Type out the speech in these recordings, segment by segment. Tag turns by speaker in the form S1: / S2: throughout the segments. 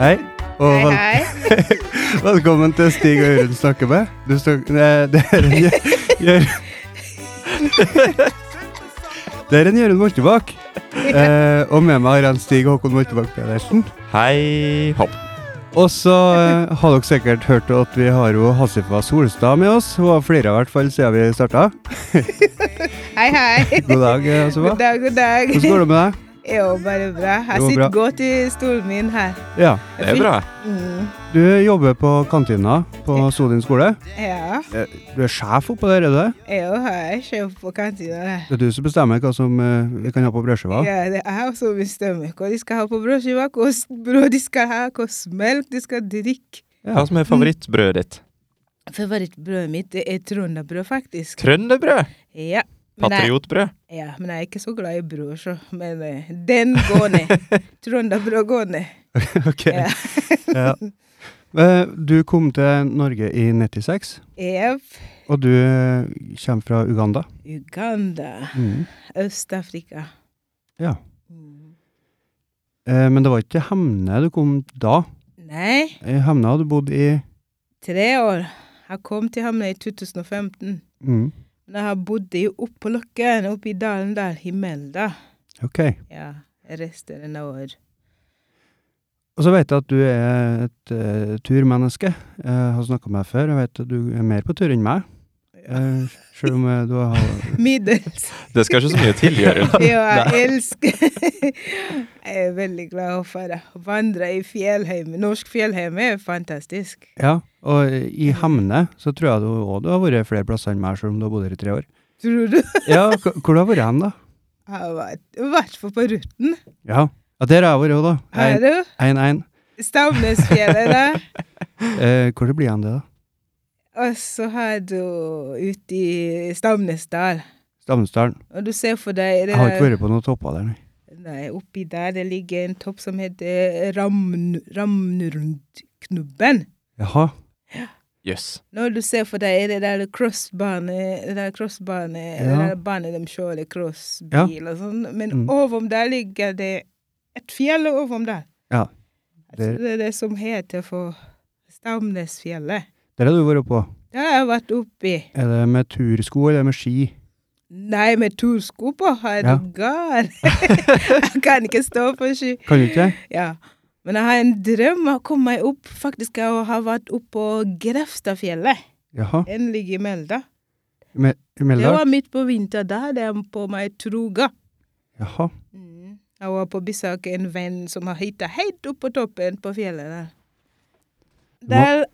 S1: Hei. Og
S2: Hei,
S1: vel
S2: hei.
S1: velkommen til Stig og Jørund snakker med. Du snak eh, det er en Jø- Jør... Det er en Jørund Mortebakk. Eh, og med meg har jeg en Stig Håkon Mortebakk Pedersen.
S3: Hei hopp.
S1: Og så eh, har dere sikkert hørt at vi har jo Hasifa Solstad med oss. Hun har flira i hvert fall siden vi starta.
S2: Hei, hei.
S1: God dag, eh, Hasifa.
S2: God dag, god dag.
S1: Hvordan går det med deg?
S2: Jo, bare bra. Jeg
S1: Jo,
S2: sitter
S1: bra.
S2: godt i stolen min her.
S1: Ja.
S3: Det er bra.
S2: Mm,
S1: Du jobber på kantina på Sodin skole.
S2: ja.
S1: Eh, Du er sjef oppå der, er du det?
S2: Jo, jeg kjøper på kantina. der.
S1: Det er du som bestemmer hva som eh, vi kan ha på brødskiva?
S2: Ja, det er jeg som bestemmer hva de skal ha på brødskiva, hvordan brød de skal ha, hvordan melk de skal drikke.
S1: Ja.
S3: Hva som er favorittbrødet ditt?
S2: Favorittbrødet mitt det er trønderbrød, faktisk.
S3: Trønderbrød?
S2: Ja. Men jeg,
S3: Patriotbrød?
S2: ja, men jeg er ikke så glad i brød, så. Men eh, den går ned. Trønderbrød går ned.
S1: Ok.
S2: Ja.
S1: Ja. Eh, Du kom til Norge i 96,
S2: Jepp.
S1: og du eh, kommer fra Uganda.
S2: Uganda. Øst-Afrika.
S1: Ja.
S2: Mm.
S1: Eh, Men det var ikke til Hemne du kom da.
S2: Nei,
S1: I Hemne hadde du bodd i
S2: tre år. Jeg kom til Hamna i 2015.
S1: mm.
S2: Men jeg har bodd i oppå Løkken, oppe i dalen der, i Melda.
S1: Ok.
S2: Ja, resten av år.
S1: Og så vet jeg at du er et eh, turmenneske. Jeg har snakka med deg før. Jeg vet at du er mer på tur enn meg. Eh, selv om eh, du har
S2: Middels.
S3: Det skal ikke så mye til, Jørund.
S2: Jo, jeg elsker Jeg er veldig glad i å fare. Å vandre i fjellheimen. Norsk fjellheim er fantastisk.
S1: Ja. Og eh, i Hemne så tror jeg du òg du har vært flere plasser enn meg, selv om du har bodd her i tre år.
S2: Tror du?
S1: Ja, h- hvor har du vært hen, da?
S2: Jeg har vært, i hvert fall på Ruten.
S1: Ja. ja, der har jeg vært òg, da.
S2: Her, du.
S1: 1-1.
S2: Stavnesfjellet der.
S1: Eh, hvor det blir han det, da?
S2: Og så har du ute i Stamnesdal.
S1: Stamnesdalen.
S2: Og du ser for deg det
S1: Jeg har ikke vært på noen topper der, nei.
S2: Nei, oppi der det ligger en topp som heter Ramn- Ramnrundknubben.
S1: Jaha.
S3: Jøss.
S2: Når du ser for deg det der crossbane, det der crossbane, det
S1: Ja.
S2: der bane de kjører crossbil og sånn, men
S1: Mm.
S2: ovom der ligger det et fjell ovom der.
S1: Ja.
S2: Det...
S1: Der-
S2: det er det som heter for Stamnesfjellet.
S1: Der har du vært på.
S2: Det har jeg vært oppi.
S1: Er det med tursko eller med ski?
S2: Nei, med tursko på, herregud. jeg kan ikke stå på ski.
S1: Kan du ikke det?
S2: Ja. Men jeg har en drøm om å komme meg opp. Faktisk jeg har vært opp på Grefstadfjellet.
S1: Jaha.
S2: Den ligger i Melda.
S1: Med, I
S2: Det
S1: Meldal?
S2: var midt på vinteren da hadde jeg på meg truga.
S1: Jaha.
S2: Mm. Jeg var på besøk en venn som har hytta helt oppe på toppen på fjellet der.
S1: må-
S2: Der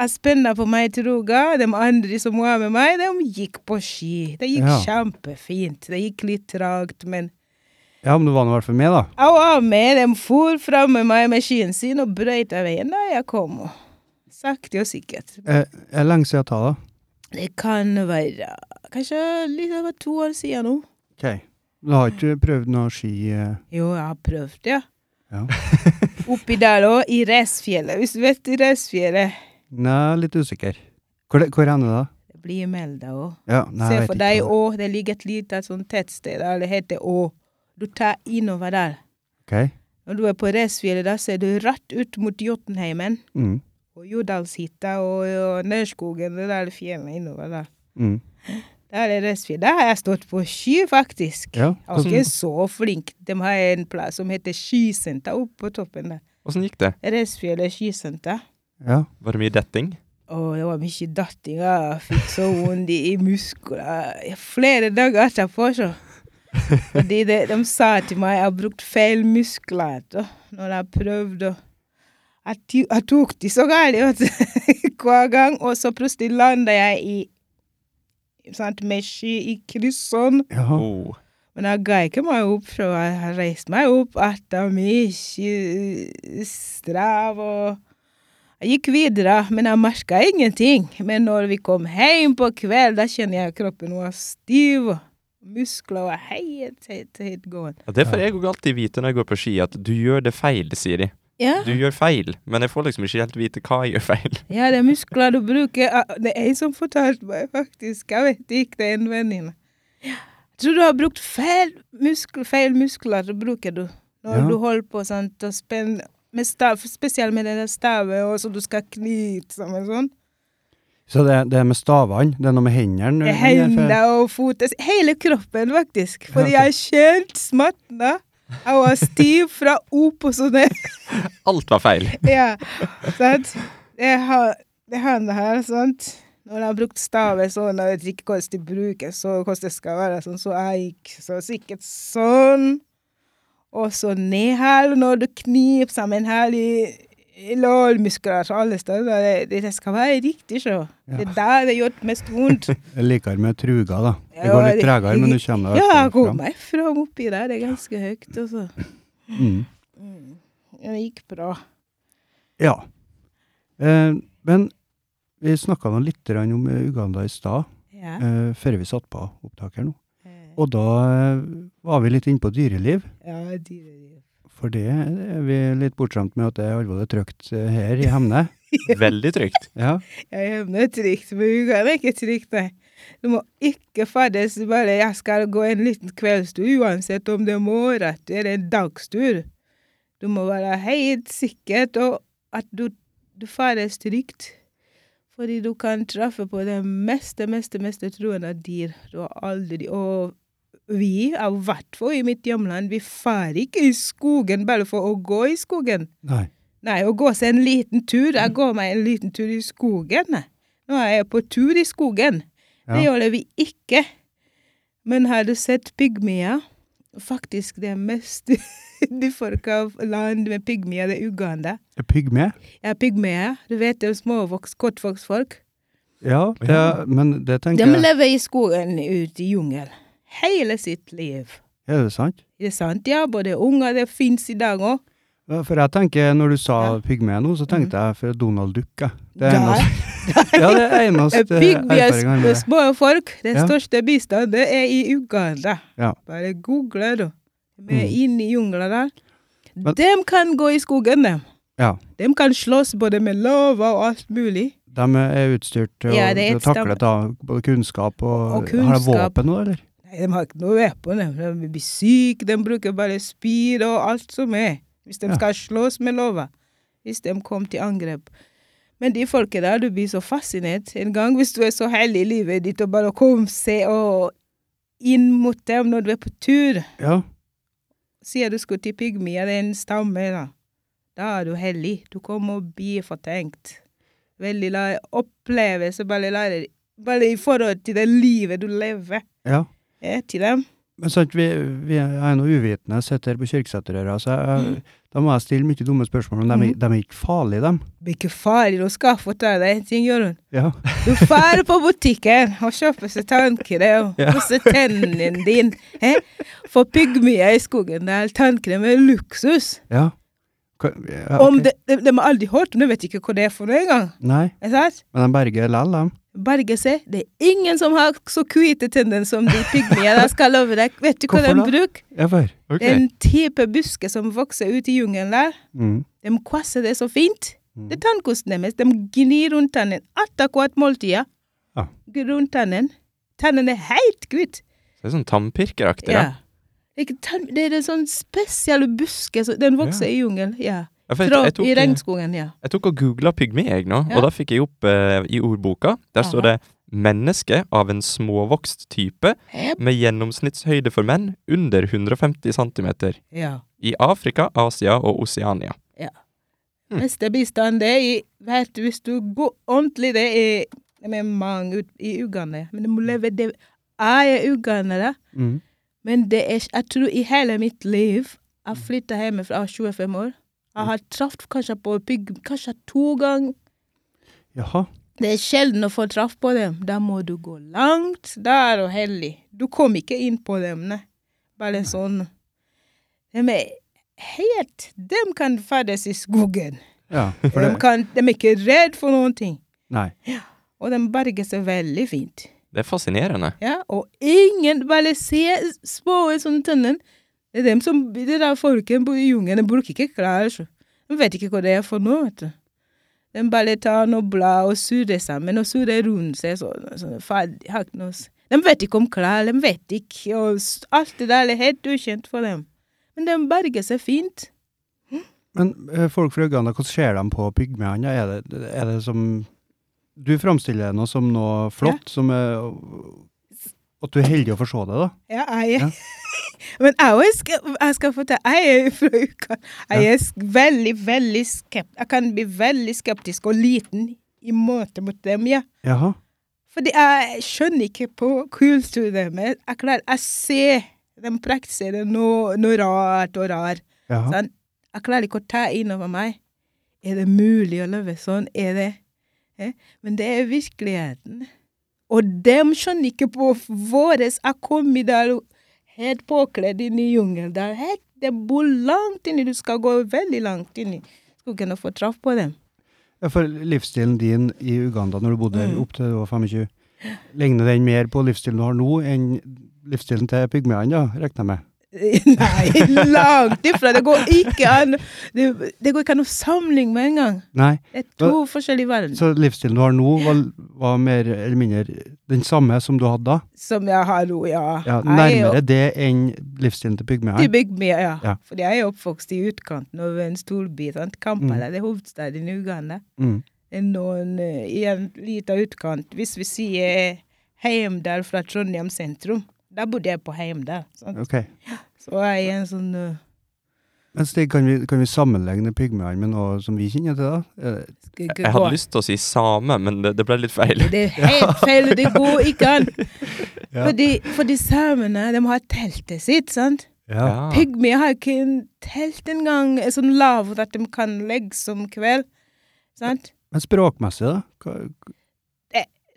S2: jeg spenna på meg truga. De andre som var med meg, de gikk på ski. Det gikk
S1: Ja.
S2: kjempefint. Det gikk litt tragt, men
S1: Ja, men du var nå i hvert fall med, da.
S2: Jeg var med, de for fram med meg med skien sin og brøyt av veien da jeg kom. og Sakte og sikkert.
S1: Eh, er det lenge siden ta, da?
S2: Det kan være kanskje litt over to år siden nå.
S1: Ok. Du har ikke prøvd noe ski eh.
S2: Jo, jeg har prøvd, ja.
S1: Ja.
S2: Oppi der òg, i Resfjellet. Hvis du vet i Resfjellet.
S1: Nei, litt usikker. Hvor, det- hvor er det, da?
S2: Det blir Melda òg.
S1: Ja, nei,
S2: Se
S1: jeg vet
S2: for
S1: ikke
S2: deg
S1: hva
S2: Å. Det ligger et lite sånn tettsted der det heter Å. Du tar innover der.
S1: det er. Ok.
S2: Når du er på Resfjellet, da ser du rett ut mot Jotunheimen.
S1: Mm.
S2: Og Jordalshytta og, og Nørskogen, det der fjellet innover der.
S1: Mm.
S2: Der er Rødsfjell. Der har jeg stått på ski, faktisk.
S1: Ja.
S2: Jeg var ikke så flink. De har en plass som heter skisenter oppe på toppen der.
S3: Åssen gikk det?
S2: Rødsfjellet skisenter.
S1: ja.
S3: Var det mye detting?
S2: Og det var mye datting. Jeg fikk så vondt i i muskler i flere dager etterpå. Så. Fordi de, de sa til meg jeg har brukt feil muskler da, når jeg prøvde. å- Jeg, ti- jeg tok de så galt vet du, hver gang, og så plutselig landa jeg i sant, med sky i kryssånd.
S1: Jaha.
S3: Oh.
S2: Men jeg ga ikke meg opp, så jeg har reist meg opp etter mye strav og Jeg gikk videre, men jeg merka ingenting. Men når vi kom hjem på kveld, da kjenner jeg kroppen var stiv. og Muskler var helt, helt, helt gående.
S3: Ja, det får jeg òg alltid vite når jeg går på ski, at du gjør det feil, sier de.
S2: Ja.
S3: Du gjør feil, men jeg får liksom ikke helt vite hva jeg gjør feil.
S2: ja, det er muskler du bruker Ah, Det er en som fortalte meg, faktisk. Jeg vet ikke, det er en venninne. Jeg tror du har brukt feil muskler, feil muskler du bruker du, når
S1: Ja.
S2: du holder på sånn, å spenne med stav, spesielt med denne staven, og så du skal knyte sammen sånn.
S1: Så det, det er med stavene, det er noe med hendene? du-
S2: Hender og føtter Hele kroppen, faktisk. Fordi
S1: Ja, ok.
S2: jeg kjente smerten. da. Jeg var stiv fra opp og så ned.
S3: Alt var feil.
S2: Ja, sant? Det har det har det her, sant? Når jeg har brukt stavet sånn, og jeg vet ikke hvordan de bruker, så hvordan det skal være sånn, så jeg gikk så sikkert sånn. Og så ned her, når du kniper sammen her i, i lårmuskler og alle steder, det, det skal være riktig, så. Det er der det gjør mest vondt.
S1: Jeg liker med truga, da. Det
S2: Ja,
S1: går litt
S2: det-
S1: tregere, men du kommer deg
S2: ja,
S1: i
S2: jeg
S1: hvert fall
S2: kom meg fram oppi der, det er ganske høyt, altså.
S1: Mm.
S2: Det gikk bra.
S1: Ja. Eh, men vi snakka nå litt grann om eh, Uganda i stad,
S2: Ja.
S1: eh, før vi satte på opptak her nå. Og da eh, var vi litt inne på dyreliv,
S2: Ja, dyreliv.
S1: for det er vi litt bortskjemt med at det er alvorlig trygt eh, her i Hemne.
S3: Veldig trygt.
S1: Ja.
S2: Jeg hjemme trygt, men Uganda er ikke trygt, nei. Du må ikke ferdes bare jeg skal gå en liten kveldstur, uansett om det er morgentur eller en dagstur. Du må være helt sikkert og at du, du ferdes trygt. Fordi du kan treffe på det meste, meste, meste troende dyr. Du har aldri Og vi, i hvert fall i mitt hjemland, vi drar ikke i skogen bare for å gå i skogen.
S1: Nei.
S2: Nei, å gå seg en liten tur. Jeg
S1: Mm.
S2: går meg en liten tur i skogen. Nå er jeg på tur i skogen. Det
S1: Ja.
S2: gjør det vi ikke. Men har du sett pygmier? Faktisk det mest de folk av land med pygmier, det er Uganda.
S1: Pygme?
S2: Ja, pygmier. Du vet det er småvoks, kortvoksfolk.
S1: Ja, det,
S3: Ja.
S1: men det
S2: De
S1: tenker jeg
S2: lever i skogen ute i jungel. Hele sitt liv.
S1: Er det sant?
S2: Det er sant, ja. Både unger, det fins i dag òg.
S1: Ja, For jeg tenker, når du sa
S2: Ja. Mhm.
S1: pygme nå, så tenkte jeg for Donald Duck, jeg. Det er
S2: Ja.
S1: eneste, ja, det er eneste erfaringen jeg har
S2: Pygmier,
S1: eh, med det.
S2: små folk. Den
S1: Ja.
S2: største bistanden det er i Uganda.
S1: Ja.
S2: Bare google, du. Vi er
S1: Mm.
S2: inne i jungelen der.
S1: Men-
S2: Dem kan gå i skogen, dem.
S1: Ja.
S2: Dem kan slåss både med lava og alt mulig.
S1: De er utstyrt til
S2: Ja,
S1: å-
S2: det er
S1: til å
S2: et
S1: takle
S2: stam-
S1: da, både kunnskap og,
S2: Og
S1: Har de
S2: kunnskap.
S1: våpen nå, eller?
S2: Nei, de har ikke noe våpen. dem. De blir syke, de bruker bare spyd og alt som er. Hvis de
S1: Ja.
S2: skal slåss med lova. Hvis de kom til angrep. Men de folket der, du blir så fascinert en gang hvis du er så heldig i livet ditt og bare kom seg og inn mot dem når du er på tur.
S1: Ja.
S2: Sier du skulle til pygmier, det er en stamme, da. Da er du heldig. Du kommer å bli fortenkt. Veldig la opplevelse, bare, lærer, bare i forhold til det livet du lever
S1: ja.
S2: eh, til dem.
S1: Men sant, vi, vi er nå uvitende, sitter her på Kirkeseterøra, så jeg,
S2: Mm.
S1: da må jeg stille mye dumme spørsmål, men de, er- de er ikke farlige, dem.
S2: Det er ikke farlig, du skal fortelle deg en ting, Jørund.
S1: Ja.
S2: Du drar på butikken og kjøper seg tannkrem.
S1: Ja.
S2: Pusser tennene dine. Eh? For pygmier i skogen der tannkrem er luksus.
S1: ja. Hva- ja,
S2: Om
S1: ok.
S2: det, de, de har aldri hørt om det, vet ikke hva det er for noe engang.
S1: Nei,
S2: Er det sant?
S1: men de berger lell, dem.
S2: berge seg. Det er ingen som har så hvite tenner som de pygmier. Jeg skal love deg. Vet du hva de
S1: Hvorfor da?
S2: bruker?
S1: Ja, for.
S3: Ok.
S2: Det er en type buske som vokser ute i jungelen der.
S1: Mm.
S2: De kvasser det så fint.
S3: Mm.
S2: Det er tannkosten deres. De gnir rundt tannen etter hvert måltid.
S1: Ja.
S2: Rundt tannen. Tannen er helt hvit.
S3: Det er sånn tannpirkeraktig.
S2: Ja.
S3: Ja.
S2: Ikke tann- Det er en sånn spesiell buske. så Den vokser i jungelen. Ja.
S3: Ja, for
S2: Fra,
S3: jeg, jeg,
S2: I
S3: tok,
S2: regnskogen, ja.
S3: jeg tok og googla pygme, jeg nå,
S2: Ja.
S3: og da fikk jeg opp eh, i ordboka. Der står det 'menneske av en småvokst type
S2: Hepp.
S3: med gjennomsnittshøyde for menn under 150 cm
S2: ja.
S3: i Afrika, Asia og Oseania'. Mm.
S2: Neste bistand det er i vet, du, Hvis du går ordentlig, det er med mange ut i Uganda. Men du må leve det Jeg er ugandere,
S1: Mm.
S2: men det er, jeg tror i hele mitt liv Jeg flytta hjemmefra jeg var 25 år. Jeg har truffet kanskje på bygg kanskje to ganger.
S1: Jaha.
S2: Det er sjelden å få traff på dem. Da må du gå langt. Da er du heldig. Du kom ikke inn på dem, nei. Bare sånn. De er helt De kan ferdes i skogen.
S1: Ja, for
S2: De,
S1: det,
S2: kan, de er ikke redd for noen ting.
S1: nei.
S2: Og de berger seg veldig fint.
S3: Det er fascinerende.
S2: Ja, og ingen bare se små i sånne tønner. Det er dem som, de der folkene bor i jungelen, de bruker ikke klær. Så. De vet ikke hva det er for noe, vet du. De bare tar noe blad og surrer sammen, og surrer rundt seg sånn. sånn ferdig, har ikke noe s- de vet ikke om klær, de vet ikke, og s- alt det der er helt ukjent for dem. Men de berger seg fint.
S1: Men eh, folk fra Uganda, hvordan ser de på pygmeene? Er, det- er det som Du framstiller det nå som noe flott, som er At du er heldig å få se det, da.
S2: Ja, jeg,
S1: Ja.
S2: Men jeg, også skal, jeg skal fortelle Jeg er fra Uka. Jeg er sk- veldig, veldig skeptisk. Jeg kan bli veldig skeptisk og liten i møte mot dem, ja.
S1: Jaha.
S2: Fordi jeg skjønner ikke på kulturen deres. Jeg, klarer- jeg ser dem praktisere noe, noe rart og rar.
S1: jaha.
S2: Sant? Sånn, Jeg klarer ikke å ta inn over meg. Er det mulig å leve sånn? Er det eh? Men det er virkeligheten. Og dem skjønner ikke på våres. Jeg kom i dag helt påkledd inn i jungelen der. Helt, det bor langt inni. Du skal gå veldig langt inni. Skulle kunne få traff på dem.
S1: Ja, for livsstilen din i Uganda når du bodde der
S2: Mm.
S1: opp til du var 25, ligner den mer på livsstilen du har nå, enn livsstilen til pygmeene, da, regner jeg med?
S2: Nei, langt ifra. Det går ikke an. Det, det går ikke an å sammenligne med en gang.
S1: Nei.
S2: Det er to forskjellige verdener.
S1: Så livsstilen du har nå, var, var mer eller mindre den samme som du hadde da?
S2: Som jeg har nå, ja. Jeg
S1: Ja,
S2: er jo-
S1: nærmere det enn livsstilen til
S2: De
S1: pygmeene?
S2: bygde meg, ja.
S1: Ja.
S2: Fordi jeg er oppvokst i utkanten av en storby. Sant?
S3: Mm.
S2: Kampala det er hovedstaden i Uganda.
S1: Mm.
S2: Det er noen eh, i en liten utkant. Hvis vi sier Heimdal fra Trondheim sentrum, da bodde jeg på Heimdal. Sant?
S1: Ok.
S2: Så jeg er en sånn eh,
S1: Men Stig, kan vi, kan vi sammenligne pygmeene med noe som vi kjenner til, da? Eh,
S2: skal ikke
S3: Jeg hadde
S2: gå.
S3: lyst til å si same, men det, det ble litt feil.
S2: Det er helt feil, og det går ikke an.
S1: Ja.
S2: Fordi, fordi samene, de har teltet sitt, sant?
S3: Ja.
S2: Pygmier har ikke en telt engang, en sånn lavt at de kan legge som kveld, sant?
S1: Men språkmessig, da? Hva-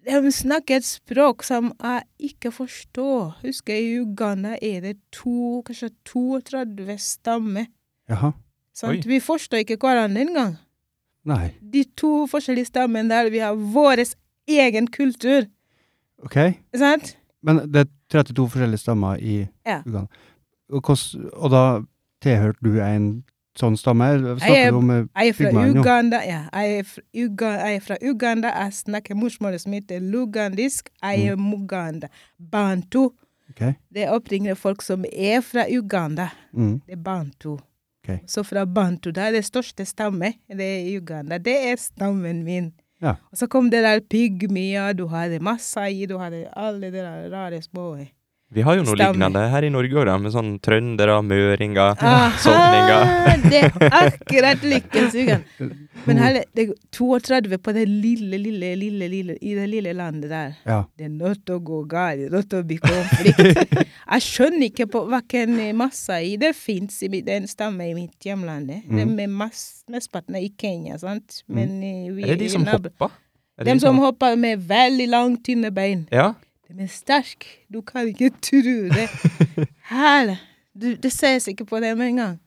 S2: De snakker et språk som jeg ikke forstår. Husker jeg i Uganda er det to, kanskje 32 stammer.
S1: Jaha.
S2: Sant?
S3: Oi.
S2: Vi forstår ikke hverandre engang.
S1: Nei.
S2: De to forskjellige stammene der vi har vår egen kultur.
S1: Ok.
S2: Sant?
S1: Men det er 32 forskjellige stammer i
S2: Ja.
S1: Uganda. Og, hvordan- og da tilhørte du en sånn stamme? eller Snakker
S2: er-
S1: du om eh,
S2: Jeg er fra
S1: Pygmalion.
S2: Uganda. Ja, jeg, er fra Uga, jeg er fra Uganda. Jeg snakker morsmålet som heter lugandisk. Jeg er muganda. Bantu.
S1: Ok.
S2: Det er oppringende folk som er fra Uganda.
S1: Mm.
S2: Det er bantu.
S1: Ok.
S2: Så fra bantu, da er det største stamme, det er Uganda. Det er stammen min.
S1: Ja.
S2: Og så kom det der pygmia, du hadde masai, du hadde alle de der rare små
S3: Vi har jo noe
S2: Stemmer.
S3: lignende her i Norge òg, da, med sånn trøndere, møringer, sånninger.
S2: Aha! Det er akkurat lykkens Uganda. Men her, det er 32 på det lille, lille, lille, lille, i det lille landet der.
S1: Ja.
S2: Det er nødt til å gå galt, det er nødt til å bli konflikt. Jeg skjønner ikke på hverken masai Det fins i mi- det er en stamme i mitt hjemland. det. Det er med mass- Mesteparten er i Kenya, sant? Men eh, vi
S3: Mm. Er det de som
S2: nabo-
S3: hopper? Er det
S2: Dem som hopper med veldig langt, tynne bein.
S3: Ja.
S2: De er sterke. Du kan ikke tro det. Her du, Det ses ikke på dem engang.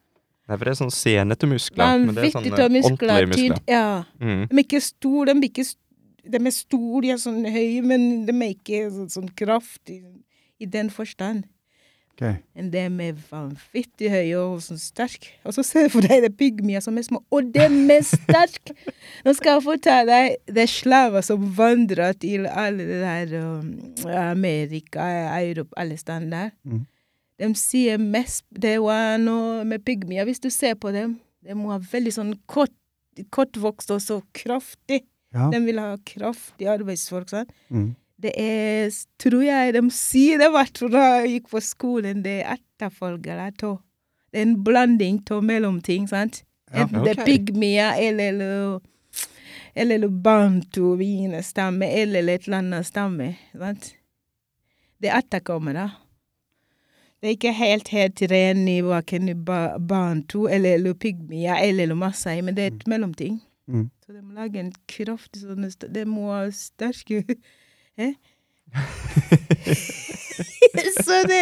S3: Nei, for det er sånn senete muskler. men det er
S2: Vanvittig
S3: sånn,
S2: av
S3: eh,
S2: muskler.
S3: ordentlige
S2: Tyd, ja.
S3: Mm.
S2: De er ikke store, de blir ikke st- De er store, de er sånn høye, men de er ikke sånn, sånn kraftige i den forstand.
S1: Ok.
S2: Men de er vanvittig høye og sånn sterke. Og så ser du for deg det er pygmier som er små, og de er sterke! Nå skal jeg fortelle deg det er slaver som vandrer til alle de der um, Amerika, Europa, alle steder der.
S1: Mhm.
S2: De sier mest Det var noe med pygmier. Hvis du ser på dem, de må ha veldig sånn kort kortvokst og så kraftig.
S1: Ja.
S2: De vil ha kraftig arbeidsfolk. sant?
S1: Mm.
S2: Det er, s- tror jeg de sier det hvert fall da jeg gikk på skolen, det er etterfølgere av Det er en blanding av mellomting, sant?
S1: Ja,
S2: Enten det er
S3: ok.
S2: pygmier eller eller bantu, vinestamme, eller et eller annet stamme. Sant? Det er etterkommere. Det er ikke helt helt ren i hverken i ba bantu eller pygmier eller masai, men det er et mellomting.
S1: Mm.
S2: Så de lager en kraftig sånn st- De må ha sterke Eh? Så det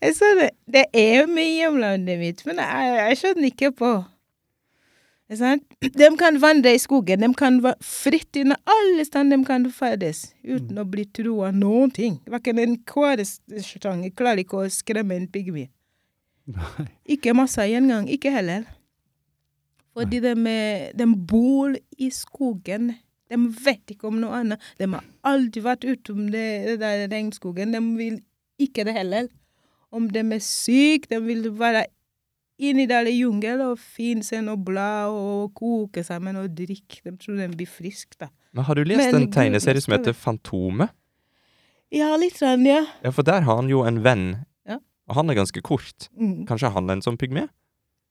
S2: jeg sa det, det er med i hjemlandet mitt, men jeg, jeg skjønner ikke på Ikke sant? De kan vandre i skogen, de kan va- fritt under alle steder de kan ferdes, uten å bli trua noen ting. Verken en kårestang klarer ikke å skremme en pygmy.
S1: Nei.
S2: Ikke masse engang, ikke heller. Fordi de, eh, de bor i skogen. De vet ikke om noe annet. De har aldri vært utom det, det der regnskogen. De vil ikke det heller. Om de er syke, de vil være inn i der i jungelen og finne seg noe blad og koke sammen og drikke. De tror de blir friske, da.
S3: Men har du lest
S2: Men
S3: en
S2: du-
S3: tegneserie som
S2: skal vi-
S3: heter Fantomet?
S2: Ja, litt sånn, ja.
S3: Ja, for der har han jo en venn.
S2: Ja.
S3: Og han er ganske kort.
S2: Mm.
S3: Kanskje han er en sånn pygme?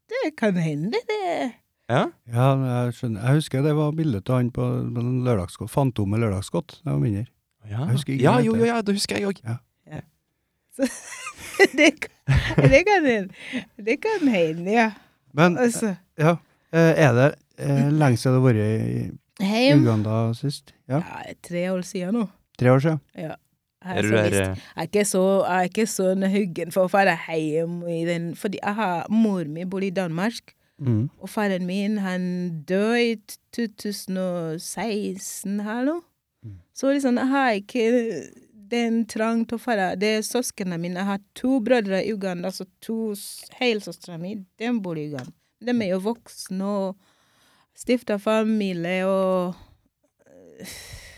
S2: Det kan hende, det.
S3: Ja?
S1: Ja, jeg skjønner. Jeg husker det var bilde av han på på en lørdagsgodt. Fantomet lørdagsgodt. Det var mindre.
S3: Ja,
S1: Jeg husker ikke
S3: ja
S1: hva det
S3: jo,
S1: heter.
S3: jo, ja, det husker jeg òg.
S2: det, kan, det kan hende. Det kan hende, ja.
S1: Men
S2: Altså,
S1: ja, eh, er det eh, lenge siden du har vært i
S2: heim.
S1: Uganda sist? Ja,
S2: Ja, tre år siden nå.
S1: tre år siden?
S2: Jeg
S3: Er du
S2: så
S3: der
S2: lyst-
S3: eh,
S2: Jeg er ikke så, jeg er ikke sånn huggen for å dra hjem i den Fordi jeg har mor mi bor i Danmark,
S1: Mm.
S2: og faren min han døde i t- 2016 her nå.
S1: Mm.
S2: Så liksom, jeg har ikke den trang til å dra Det er søsknene mine. Jeg har to brødre i Uganda, så to s- helsøstrene mine de bor i Uganda. De er jo voksne og stifter familie og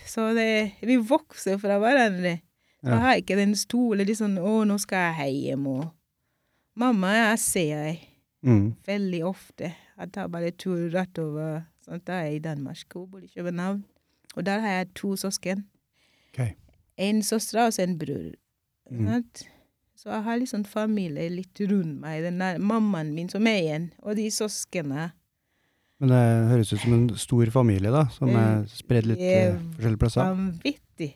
S2: Så det, vi vokser fra hverandre.
S1: Ja.
S2: Jeg har ikke den store liksom, 'Å, nå skal jeg hjem', og Mamma jeg ser jeg
S1: Mm.
S2: veldig ofte. Jeg tar bare tur rett over. Sånn, da er jeg i Danmark. Hun bor i København. Og der har jeg to søsken.
S1: Ok.
S2: En søster og så en bror.
S1: Mm.
S2: Sant? Så jeg har liksom familie litt rundt meg. Den der mammaen min som er igjen, og de søsknene.
S1: Men det høres ut som en stor familie, da, som
S2: Mm.
S1: er spredd litt eh,
S2: Jævla-
S1: forskjellige plasser.
S2: Vanvittig.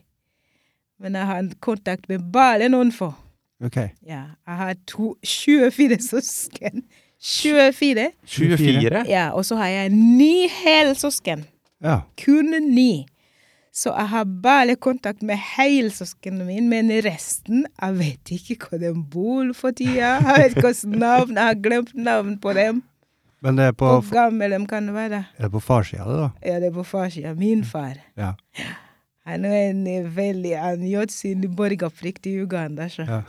S2: Men jeg har kontakt med bare noen få.
S1: Ok.
S2: Ja, jeg har to, 24 søsken. 24.
S3: 24?
S2: Ja, og så har jeg ni helsøsken.
S1: Ja.
S2: Kun ni. Så jeg har bare kontakt med helsøsknene mine, men resten Jeg vet ikke hvor de bor for tida. Jeg vet ikke hvilket navn. Jeg har glemt navn på dem.
S1: Men det er på,
S2: Hvor gamle de kan være.
S1: er det på farssida, det, da?
S2: Ja, det er på farssida. Min far.
S1: Ja.
S2: Han er en eh, veldig Han gjør sin borgerplikt i Uganda, så.
S1: Ja.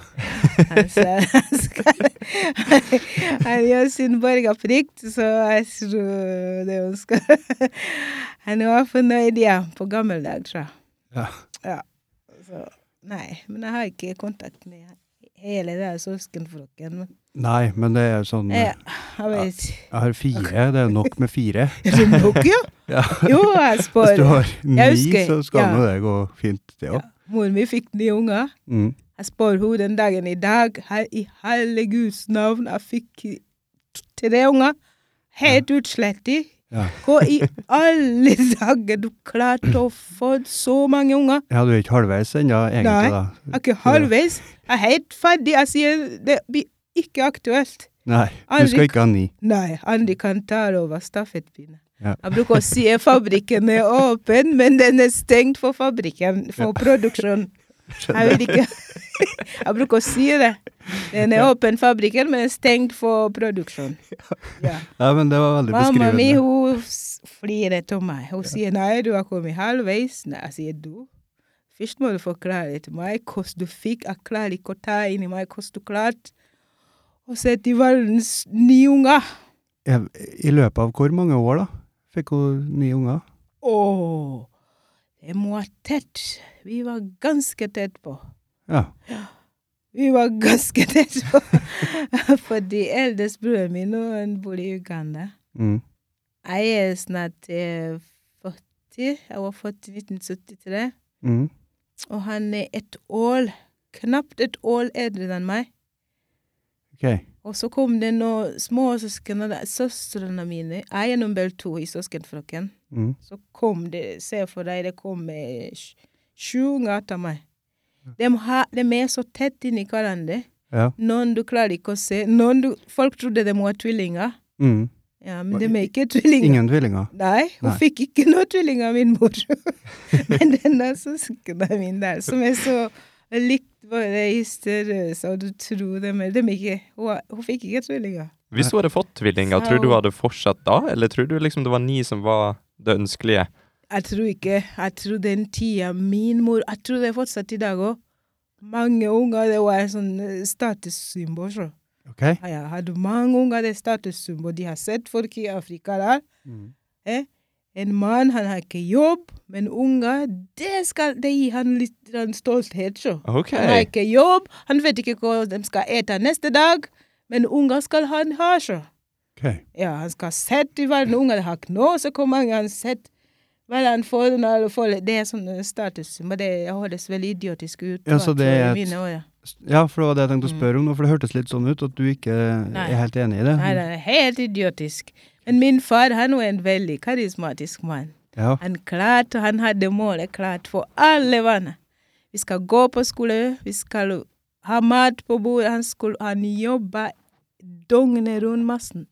S2: Altså, han skal- han gjør sin borgerplikt, så jeg tror det hun skal Han var fornøyd, ja, på gammeldag, tror jeg.
S1: Ja.
S2: Ja, Så, nei, men jeg har ikke kontakt med hele den søskenflokken. Men
S1: Nei, men det er sånn
S2: jeg,
S1: Jeg
S2: jeg vet
S1: har fire. Det er nok med fire.
S2: Er det nok, ja?
S1: Ja.
S2: Jo, jeg
S1: Hvis du
S2: spår.
S1: har ni,
S2: husker-
S1: så skal
S2: ja.
S1: nå det gå fint, det òg.
S2: Moren min fikk ni unger.
S1: Mm.
S2: Jeg spør henne den dagen i dag, her i herreguds navn, jeg fikk tre unger. Helt utslettet.
S1: Ja.
S2: Hva i alle dager du klarte å få så mange unger?
S1: Ja, du er ikke halvveis ennå,
S2: Nei.
S1: egentlig, da.
S2: Jeg er ikke halvveis. Jeg er helt ferdig. Jeg sier det blir ikke aktuelt.
S1: Nei, du
S2: Aldri
S1: skal ikke ha ni.
S2: Nei, Andi kan ta over stafettpinnen.
S1: Mm. Ja.
S2: Jeg bruker å si at fabrikken er åpen, men den er stengt for fabrikken, for produksjon. Jeg vil ikke Jeg bruker å si det. Den er åpen fabrikken, men stengt for produksjon. Ja.
S1: Ja, men det var veldig
S2: Mamma mi
S1: beskrivende.
S2: hun s- flirer til meg. Hun sier nei, du har kommet halvveis. Nei, jeg sier du. Først må du forklare til meg hvordan du fikk. Jeg klarer ikke å ta inn i meg hvordan du klarte å sette i verdens ni unger.
S1: Ja, I løpet av hvor mange år, da? Fikk hun ni unger?
S2: Å, det må være tett. Vi var ganske tett på.
S1: Ja.
S2: Vi var ganske tett på. Fordi eldste broren min nå, han bor i Uganda.
S1: Mm.
S2: Jeg er snart eh, 40. Jeg var født i 1973.
S1: Mm.
S2: Og han er et år, knapt et år eldre enn meg.
S1: Ok.
S2: Og så kom det noen småsøsken, og da- søstrene mine. Jeg er nummer to i søskenflokken.
S1: Mm.
S2: Så kom det, se for deg, det kom eh, sj- sju unger etter meg. De, har, de er så tett inni hverandre.
S1: Ja.
S2: Noen du klarer ikke å se. Noen du, folk trodde de var tvillinger.
S1: Mm.
S2: Ja, men de er ikke tvillinger.
S1: Ingen tvillinger?
S2: Nei, hun
S1: Nei.
S2: fikk ikke noe tvilling av min mor. Men denne søskenen min der, som er så likt våre hysterøse, og du tror dem er dem ikke Hun, har- hun fikk ikke tvillinger.
S3: Hvis du hadde fått tvillinger, tror du hun hadde fortsatt da? Eller tror du liksom det var ni som var det ønskelige?
S2: Jeg tror ikke Jeg tror den tida min mor Jeg tror det er fortsatt i dag òg. Mange unger, det var en sånn eh, statussymbol. Så.
S1: Ok.
S2: Ja, Jeg hadde mange unger, det er statussymbol. De har sett folk i Afrika der.
S1: Mm.
S2: Eh? En mann, han har ikke jobb, men unger, det, skal, det gir han litt grann stolthet, så.
S3: OK.
S2: Han har ikke jobb, han vet ikke hva de skal ete neste dag. Men unger skal han ha, så.
S1: Ok.
S2: Ja, han skal ha sett i verden. Ungene har ikke noe, så hvor mange han sett. Hva han får når han får Det er sånn status, men det høres veldig idiotisk ut.
S1: Ja, så
S2: da,
S1: det
S2: tror jeg,
S1: er
S2: i
S1: et-
S2: mine øyne.
S1: Ja, for det var det jeg tenkte å spørre om nå, for det hørtes litt sånn ut at du ikke
S2: Nei.
S1: er helt enig i det.
S2: Nei, det er helt idiotisk. Men min far han var en veldig karismatisk mann.
S1: Ja.
S2: Han klarte, han hadde målet klart for alle barna. Vi skal gå på skole, vi skal ha mat på bordet. Han, skulle, han jobba døgnet rundt massen.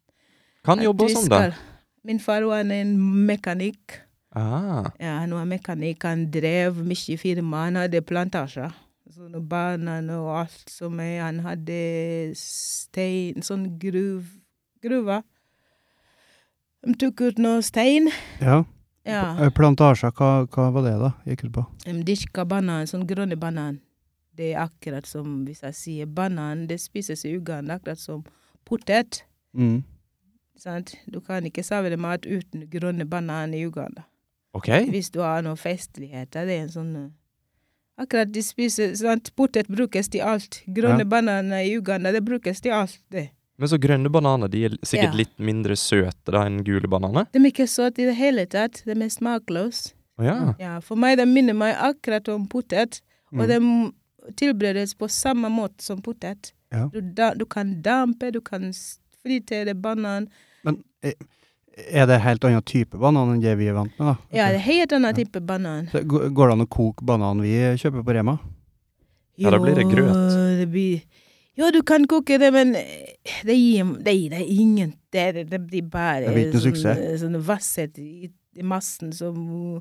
S3: Kan
S2: At
S3: jobbe sånn
S2: vi
S3: som det.
S2: skal- Min far var en mekanikk.
S3: Ah,
S2: Ja, han var mekanikk, han drev mye firma, han hadde plantasjer. Sånne banan og alt som er Han hadde stein, sånn gruv, gruva. De tok ut noe stein.
S1: ja.
S2: Ja.
S1: Eh, Plantasjer, hva, hva var det da? Gikk ut på?
S2: De dyrka banan, sånn grønne banan. Det er akkurat som hvis jeg sier banan, det spises i Uganda akkurat som potet.
S1: Mm.
S2: Sant? Du kan ikke servere mat uten grønne banan i Uganda.
S3: ok.
S2: Hvis du har noen festligheter, det er en sånn eh, Akkurat de spiser sant, Potet brukes til alt. Grønne
S1: Ja.
S2: bananer i Uganda, det brukes til alt, det.
S3: Men så grønne bananer de er
S2: Ja.
S3: sikkert litt mindre søte da enn gule bananer?
S2: De er ikke søte i det hele tatt. De er smakløse.
S3: Å ja.
S2: Ja, for meg, de minner meg akkurat om potet. Og
S1: Mm.
S2: de tilberedes på samme måte som potet.
S1: Ja.
S2: Du, da, du kan dampe, du kan s- fritere banan.
S1: Men eh, er det helt annen type banan enn det vi er vant med da?
S2: Ja, det
S1: Ok.
S2: er helt annen
S1: Ja.
S2: type banan.
S1: Så Går går det an å koke banan vi kjøper på Rema?
S3: Ja, da blir det grøt.
S2: Jo, det blir Jo, du kan koke det, men eh, det gir det, gir deg ingen det, det, det blir bare
S1: Det blir ikke
S2: sånn,
S1: noe suksess.
S2: eh, sånn vasshet i, i massen som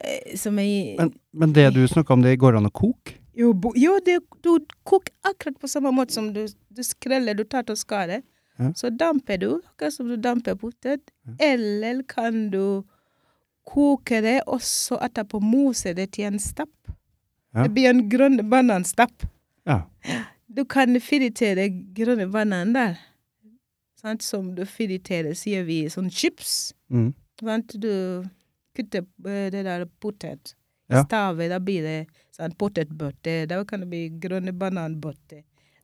S2: eh, Som er
S1: Men, men det du snakket om, det går an å koke?
S2: Jo, bo, jo det, du koker akkurat på samme måte som du, du skreller, du tar til å skare.
S1: Ja.
S2: Så damper du, akkurat som du damper potet. Eller kan du koke det, og så etterpå mose det til en stapp.
S1: Ja.
S2: Det blir en grønn bananstapp.
S1: Ja.
S2: Du kan fritere grønne bananer der. Sant? Som du friterer, sier vi, sånn chips.
S1: Mm.
S2: Sant? Du kutter eh, det der potet.
S1: Ja.
S2: Stavet, da blir det sånn potetbøtte. Da kan det bli grønne bananbøtte.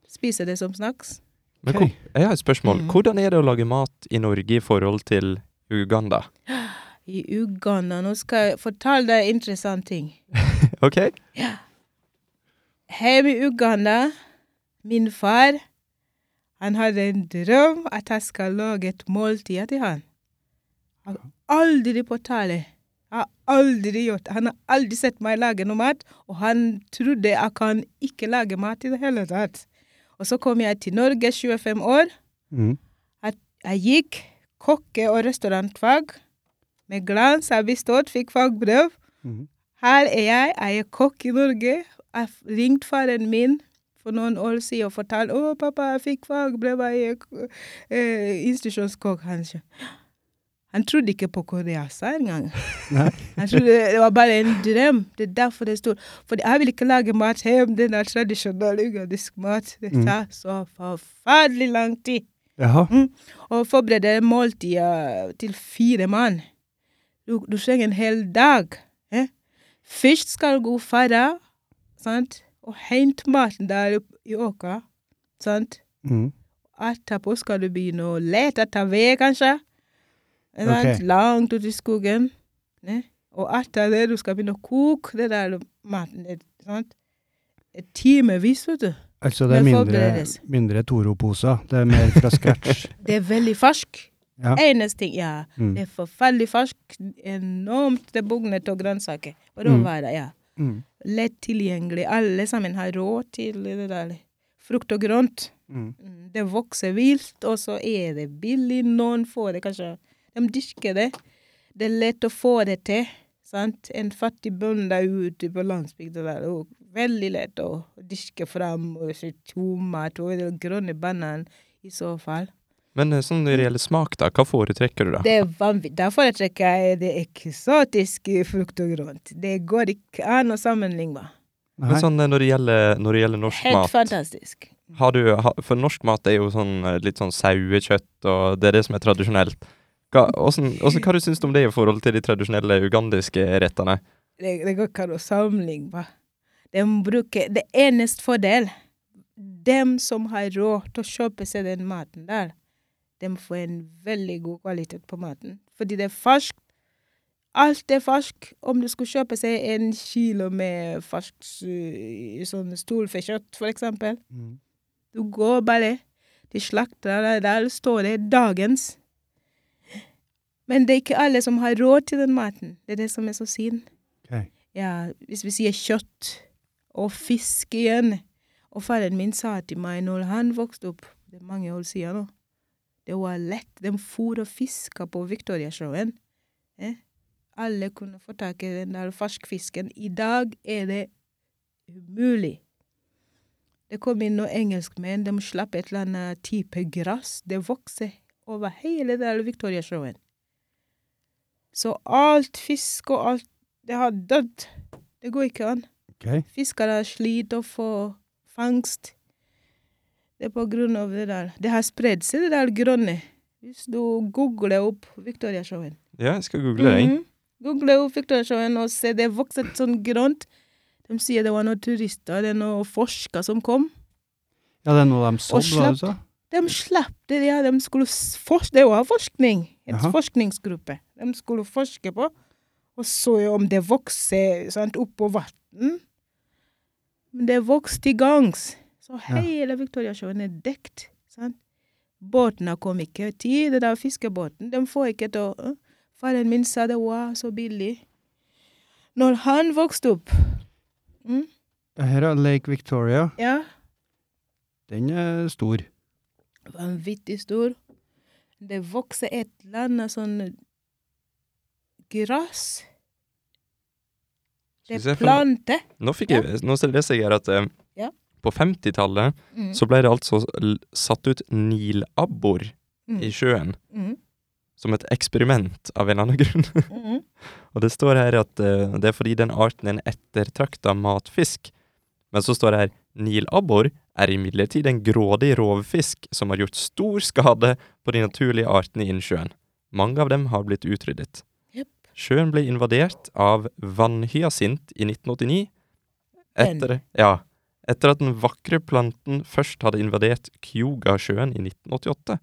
S2: Spiser det som snacks.
S3: Men
S1: Ok.
S3: hvor, jeg har et spørsmål.
S2: Mm.
S3: Hvordan er det å lage mat i Norge i forhold til Uganda?
S2: I Uganda Nå skal jeg fortelle deg en interessant ting.
S3: Ok?
S2: Hjemme i Uganda, min far, han hadde en drøm at jeg skal lage et måltid til han. Han har aldri på tale. Har aldri gjort. Han har aldri sett meg lage noe mat, og han trodde jeg kan ikke lage mat i det hele tatt. Og så kom jeg til Norge, 25 år.
S1: Mm.
S2: Jeg, jeg gikk kokke- og restaurantfag. Med glans har bestått, fikk fagbrev.
S1: Mhm.
S2: Her er jeg, jeg er kokk i Norge. Jeg f- ringte faren min for noen år siden og fortalte 'Å, pappa, jeg fikk fagbrev, jeg er k- eh, institusjonskokk'. Han, sa- han trodde ikke på Korea sa engang.
S1: Nei.
S2: Han trodde det var bare en drøm. Det er derfor det stod. For jeg vil ikke lage mat hjemme, den er tradisjonell ugandisk mat. Det
S1: Mhm.
S2: tar så forferdelig lang tid
S1: Jaha.
S2: og forberede måltider til fire mann. Du, du trenger en hel dag. Eh? Først skal du fare sant? og hente maten der opp- i åkra. sant?
S1: Mm.
S2: Etterpå skal du begynne å lete etter ved, kanskje. Eh, sant?
S1: Ok.
S2: Langt ute i skogen. Eh? Og etter det du skal begynne å koke det der maten. eh, sant? Et timevis, vet du.
S1: Altså det er
S2: Men
S1: mindre,
S2: forberedes.
S1: mindre Toro-poser, det er mer fra scratch.
S2: Det er veldig fersk.
S1: Ja.
S2: Eneste ting, ja.
S1: Mm.
S2: Det er forferdelig fersk, enormt det bugnet av grønnsaker. Og råvarer, ja.
S1: Mm.
S2: Lett tilgjengelig. Alle sammen har råd til det der. Frukt og grønt.
S1: Mm.
S2: Mm, Det vokser vilt, og så er det billig. Noen får det kanskje De dyrker det. Det er lett å få det til. Sant? En fattig bonde der ute på landsbygda der, og veldig lett å dyrke fram og så tomat og grønne banan i så fall.
S3: Men eh, sånn når det gjelder smak, da, hva foretrekker du da?
S2: Det er vanvittig. Da foretrekker jeg det eksotiske frukt og grønt. Det går ikke an å sammenligne.
S1: Nei.
S3: Men sånn eh, når det gjelder, når det gjelder norsk
S2: Helt
S3: mat
S2: fantastisk.
S3: har du, ha, For norsk mat er jo sånn eh, litt sånn sauekjøtt, og det er det som er tradisjonelt. Hva, åssen- åssen- hva du syns du om det i forhold til de tradisjonelle ugandiske rettene?
S2: Det, det går ikke an å sammenligne. De bruker Det eneste fordel dem som har råd til å kjøpe seg den maten der, de får en veldig god kvalitet på maten. Fordi det er ferskt. Alt er ferskt. Om du skulle kjøpe seg en kilo med ferskt øh, sånn storfekjøtt, for eksempel,
S1: Mm.
S2: du går bare til slakterne, der står det 'dagens'. Men det er ikke alle som har råd til den maten. Det er det som er så synd.
S1: Ok.
S2: Ja, hvis vi sier kjøtt og fisk igjen Og faren min sa til meg når han vokste opp Det er mange år siden nå. Det var lett. De for og fiska på Victoriasjøen. Eh? Alle kunne få tak i den der ferskfisken. I dag er det umulig. Det kom inn noen engelskmenn. De slapp et eller annet type gress. Det vokser over hele der Victoriasjøen. Så alt fisk og alt Det har dødd. Det går ikke an.
S1: Ok.
S2: Fiskere sliter å få fangst. Det er på grunn av det der. Det har spredd seg, det der grønne. Hvis du googler opp Victoriasjøen.
S3: Ja, jeg skal google det. jeg.
S2: Mhm. Google opp Victoriasjøen og se det vokset sånn grønt. De sier det var noen turister, det er noen forskere som kom.
S1: Ja, det er noe de sådde, hva
S2: slapp.
S1: du sa?
S2: De slapp det der. De skulle s- fors- det var forskning. En
S1: Jaha.
S2: forskningsgruppe. De skulle forske på. Og så jo om det vokser sant, oppå vann. Men det vokste til gangs. Så hele Victoriasjøen er dekt. Sant? Båtene kom ikke til. Det der fiskebåten, de får ikke til å øh. Faren min sa det var så billig. Når han vokste opp mm,
S1: Ja, Her er Lake Victoria.
S2: Ja.
S1: Den er stor.
S2: vanvittig stor. Det vokser et eller annet sånn gress. Det
S3: Skal vi se
S2: er
S3: for noe?
S2: planter.
S3: Nå, fikk jeg, nå leser jeg her at eh,
S2: Ja.
S3: på 50-tallet
S2: Mm.
S3: så ble det altså l- satt ut nilabbor
S2: Mm.
S3: i sjøen
S2: Mm.
S3: som et eksperiment av en annen grunn.
S2: Mm.
S3: Og det står her at eh, det er fordi den arten er en ettertrakta matfisk. Men så står det her nilabbor er imidlertid en grådig rovfisk som har gjort stor skade på de naturlige artene i innsjøen. Mange av dem har blitt utryddet.
S2: Jepp.
S3: Sjøen ble invadert av vannhyasint i 1989.
S2: Den.
S3: Etter, ja, etter at den vakre planten først hadde invadert Kyogasjøen i 1988.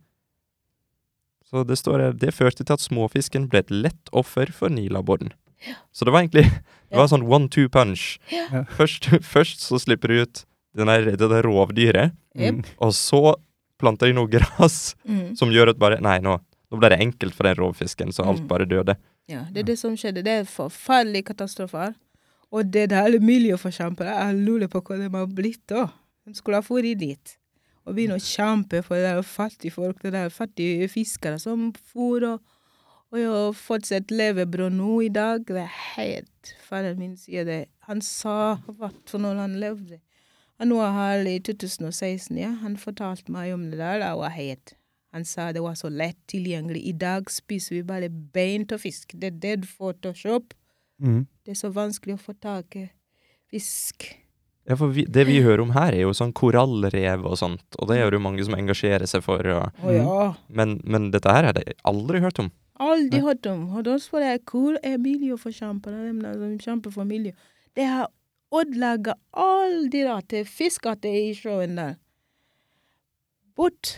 S3: Så det står her Det førte til at småfisken ble et lett offer for nilabboren. Så det var egentlig Det var sånn one-two punch.
S1: Ja.
S3: Først, først så slipper du ut den der, det der rovdyret,
S2: Jepp.
S3: og så planter de noe gress
S2: Mm.
S3: som gjør at bare Nei, nå, nå ble det enkelt for den rovfisken, så alt
S2: Mm.
S3: bare døde.
S2: Ja, det er det som skjedde. Det er forferdelige katastrofer. Og det der alle miljøforkjempere, jeg lurer på hva de har blitt da. De skulle ha dratt dit og begynne å kjempe for det der fattige folk, det der fattige fiskere som for og, og jo fortsatt levebrød nå i dag. Det er helt Faren min sier det. Han sa hvert for når han levde. Han var her i 2016, ja. Han fortalte meg om det der. Jeg var helt han sa det var så lett tilgjengelig. I dag spiser vi bare bein av fisk. Det er det du får til å kjøpe.
S1: Mm.
S2: Det er så vanskelig å få tak i fisk.
S3: Ja, for vi, Det
S2: Mm.
S3: vi hører om her, er jo sånn korallrev og sånt, og det er det jo mange som engasjerer seg for. Og,
S2: Å ja.
S3: men, men dette her har jeg aldri hørt om.
S2: Aldri hørt om. Og da spør jeg hvor er miljøforkjemperne, dem der som kjemper for miljø. De har ødelagt alle de rare fiskeartene i sjøen der. Bort.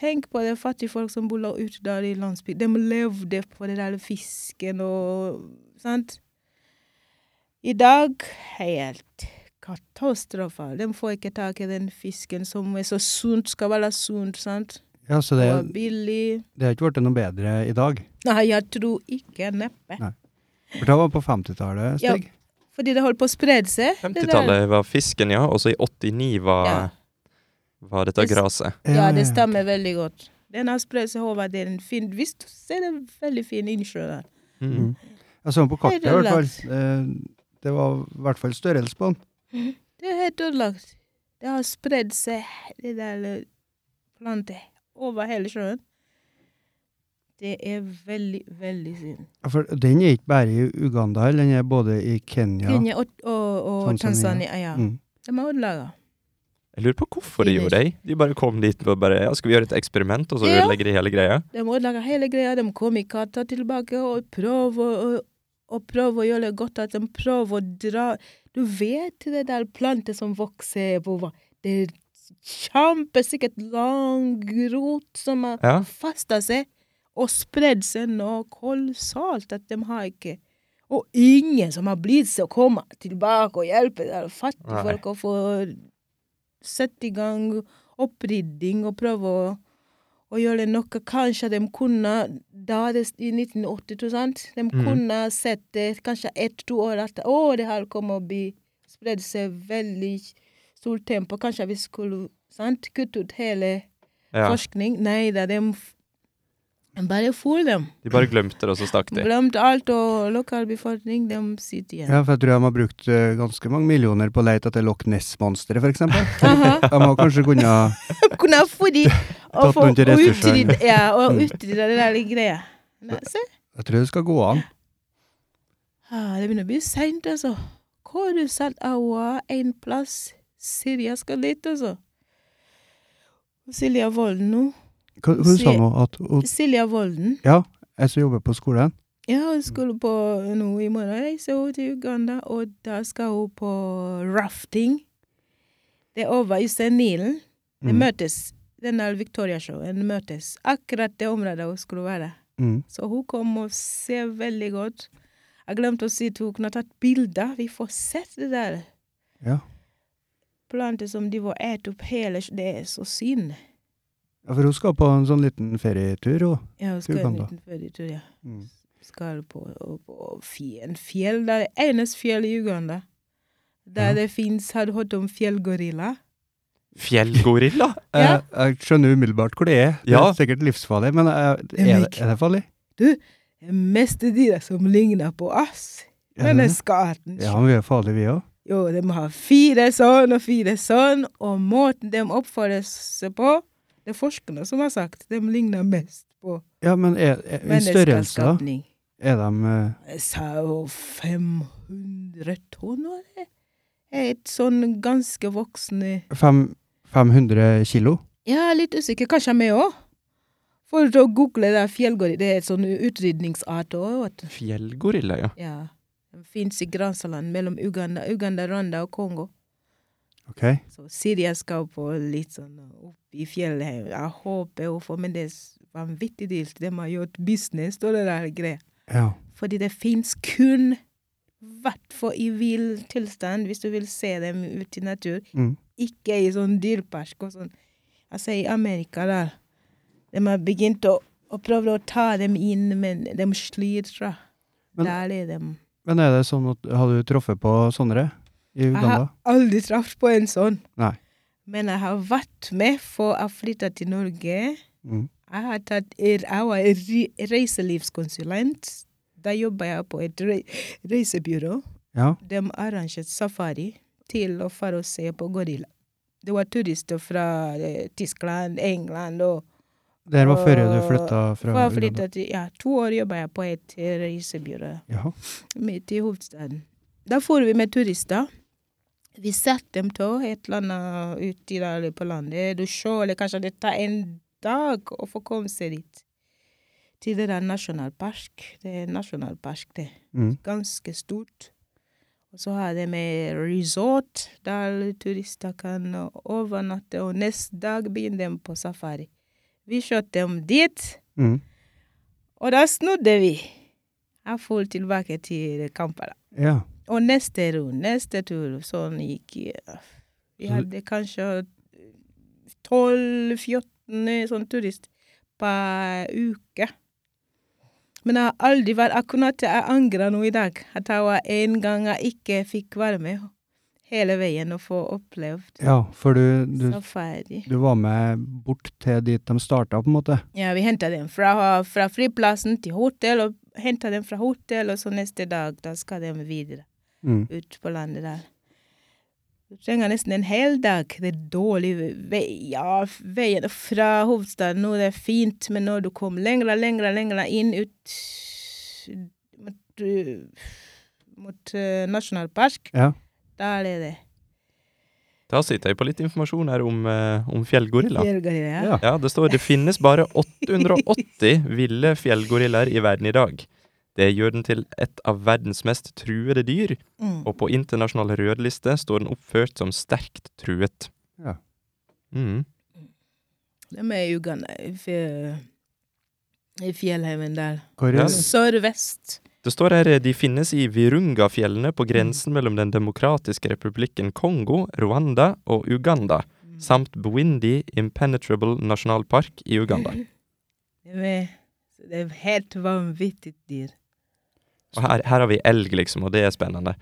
S2: Tenk på det fattige folk som bor la- ute der i landsbygda. De levde på det der fisken og Sant? I dag helt katastrofe. De får ikke tak i den fisken som er så sunt, skal være sunt, sant?
S1: Ja, så det,
S2: Og billig.
S1: det har ikke blitt noe bedre i dag.
S2: Nei, jeg tror ikke neppe.
S1: Nei. For det var på 50-tallet,
S2: Ja.
S1: Stig.
S2: Fordi det holdt på å spredde seg. det der.
S3: 50-tallet var fisken, ja, og så i 89 var,
S2: Ja.
S3: var dette
S2: Det s-
S3: graset.
S2: Ja, det
S1: Eh,
S2: stemmer veldig godt. Den har spredt seg over det er en fin Hvis du ser det er en veldig fin innsjø der.
S3: Mm.
S1: Mm. Jeg så den på kartet, i
S2: Helt
S1: hvert fall. Eh, Det var i hvert fall størrelse på den.
S2: Det er helt ødelagt. Det har spredd seg, det der eh, plantet, over hele sjøen. Det er veldig, veldig synd.
S1: Ja, For den er ikke bare i Uganda, eller den er både i Kenya
S2: Kenya og, og, og
S1: Tanzania.
S2: Tanzania, ja.
S1: Mm.
S2: De er ødelagt.
S3: Jeg lurer på hvorfor de gjorde det. De bare kom dit og bare ja, Skal vi gjøre et eksperiment, og så
S2: Ja.
S3: ødelegger de hele greia?
S2: De ødela hele greia. De kom i katta tilbake og prøvde å, å, og prøve å gjøre det godt, at de prøver å dra Du vet det der plantet som vokser på hva- Det er kjempesikkert lang rot som har
S3: Ja.
S2: fasta seg og spredd seg nå kolossalt at de har ikke Og ingen som har blitt seg å komme tilbake og hjelpe der fattige
S3: Nei.
S2: folk å få sette i gang opprydding og prøve å og gjøre noe. Kanskje de kunne da det, i 1982, sant? De
S3: Mhm.
S2: kunne sett det kanskje ett-to år at å, det her kommer å bli spredd seg veldig stort tempo. Kanskje vi skulle sant? kutte ut hele
S3: Ja.
S2: forskning. Nei da, de f- de bare for dem.
S3: De bare glemte det, og så stakk de.
S2: Glemte alt, og lokalbefolkning, de sitter igjen.
S1: Ja, for jeg tror de har brukt eh, ganske mange millioner på å lete etter Loch Ness-monsteret, for eksempel.
S2: Aha.
S1: De har kanskje kunnet
S2: kunne ha fått de og
S1: Tatt
S2: få
S1: noen til ressursene.
S2: utrydda ja, og utrydda det der greia. Nei, se.
S1: Jeg tror det skal gå an.
S2: Ah, det begynner å bli seint, altså. Kolossalt aua, én plass. Silja skal dit, altså. Silja Volden nå.
S1: Hva, hva sa
S2: Se-
S1: hun? At hun
S2: Silja Volden.
S1: Ja, jeg som jobber på skolen.
S2: Ja, hun skulle på nå i morgen. Reiser hun til Uganda, og da skal hun på rafting. Det er over Ysennilen. Det
S1: Mm.
S2: møtes. Den der Victoria-showen møtes. Akkurat det området hun skulle være.
S1: Mm.
S2: Så hun kom og ser veldig godt. Jeg glemte å si til hun kunne ha tatt bilder. Vi får sett det der
S1: Ja.
S2: planter som de var et opp hele Det er så synd.
S1: ja, for hun skal på en sånn liten ferietur, hun.
S2: Ja, hun skal
S1: Til Uganda.
S2: en liten ferietur, ja.
S1: Mm.
S2: Skal på, og- på fj- en fjell. Det er eneste fjell i Uganda. Der
S1: Ja.
S2: det fins Har du hørt om fjellgorilla?
S3: Fjellgorilla?
S2: Ja.
S1: Jeg, Eh, jeg skjønner umiddelbart hvor det er. Det
S3: Ja.
S1: er sikkert livsfarlig, men jeg,
S2: er
S1: er,
S2: myk.
S1: det, er det farlig?
S2: Det meste dyra som ligner på oss.
S1: Er det det?
S2: Menneskearten.
S1: Ja, men vi er farlige, vi òg.
S2: Jo, de har fire sånn og fire sånn, og måten de oppfører seg på Det er forskerne som har sagt de ligner mest på
S1: Ja, men er, er, i størrelse, da?
S2: menneskeskapning.
S1: Er de eh,
S2: Jeg sa jo 500 tonn, var det? Et sånn ganske voksne
S1: fem, 500 kilo?
S2: Ja, litt usikker. Kanskje meg òg. For å google det fjellgård, det er et sånn utrydningsart òg.
S3: Fjellgorilla, ja.
S2: Ja. Den fins i grenseland mellom Uganda, Uganda, Rwanda og Kongo.
S1: Ok.
S2: Så Silja skal på litt sånn opp i fjellet her. Jeg håper hun får, men det er s- vanvittig dyrt. De har gjort business og det der greia.
S1: Ja.
S2: Fordi det fins kun, i hvert fall i vill tilstand, hvis du vil se dem ute i natur.
S1: Mm.
S2: Ikke i sånn dyrepark og sånn. Altså i Amerika der. De har begynt å, å prøve å ta dem inn, men de sliter.
S1: Men-
S2: der er de.
S1: Men er det sånn at har du truffet på sånne i
S2: Jeg har
S1: Uganda?
S2: aldri truffet på en sånn.
S1: Nei.
S2: Men jeg har vært med, for jeg flytta til Norge.
S1: Mm.
S2: Jeg har tatt jeg var re- reiselivskonsulent. Da jobba jeg på et re reisebyrå.
S1: Ja.
S2: De arrangerte safari til å fare og se på gorilla. Det var turister fra eh, Tyskland, England og
S1: Det her var før du flytta fra
S2: fra
S1: Uganda?
S2: flytta til, ja, To år jobba jeg på et eh, reisebyrå
S1: Jaha.
S2: midt i hovedstaden. Da for vi med turister. Vi setter dem til et eller annet ute der på landet. Du ser, eller kanskje det tar en dag å få komme seg dit. Til det der nasjonalpark. Det er nasjonalpark, det.
S1: Mm.
S2: Ganske stort. Og så har de med resort, der turister kan overnatte, og neste dag begynner de på safari. Vi kjørte dem dit.
S1: Mm.
S2: Og da snudde vi. Jeg for tilbake til Kampala.
S1: Ja.
S2: Og neste runde, neste tur, sånn gikk ja. Vi hadde kanskje 12-14 sånn turist per uke. Men jeg har aldri vært akkurat Jeg angrer nå i dag. At jeg var en gang jeg ikke fikk være med hele veien og få opplevd
S1: ja, for du, du,
S2: safari.
S1: du var med bort til dit de starta, på en måte?
S2: Ja, vi henta dem fra, fra flyplassen til hotell, og henta dem fra hotell, og så neste dag da skal de videre
S1: Mm.
S2: ut på landet der. Du trenger nesten en hel dag. Det er dårlig vei. Ja, veien fra hovedstaden nå det er fint, men når du kommer lenger, lenger, lenger inn ut mot, eh, mot eh, nasjonalpark,
S1: Ja.
S2: der er det
S3: Da sitter jeg på litt informasjon her om, eh, om fjellgorilla.
S2: fjellgreier.
S1: Ja.
S3: Ja, det står det finnes bare 880 ville fjellgorillaer i verden i dag. Det gjør den til et av verdens mest truede dyr,
S2: Mm.
S3: og på internasjonal rødliste står den oppført som sterkt truet.
S1: Ja.
S3: Mm.
S2: De er i Uganda, i fj- i fjellheimen der.
S1: Hvor
S3: Ja.
S1: er det?
S2: Sørvest.
S3: Det står her eh, de finnes i Virunga-fjellene på grensen mellom Den demokratiske republikken Kongo, Rwanda og Uganda, samt Bwindi Impenetrable nasjonalpark i Uganda.
S2: De er, så det er helt vanvittig dyr.
S3: Og her, her har vi elg, liksom, og det er spennende.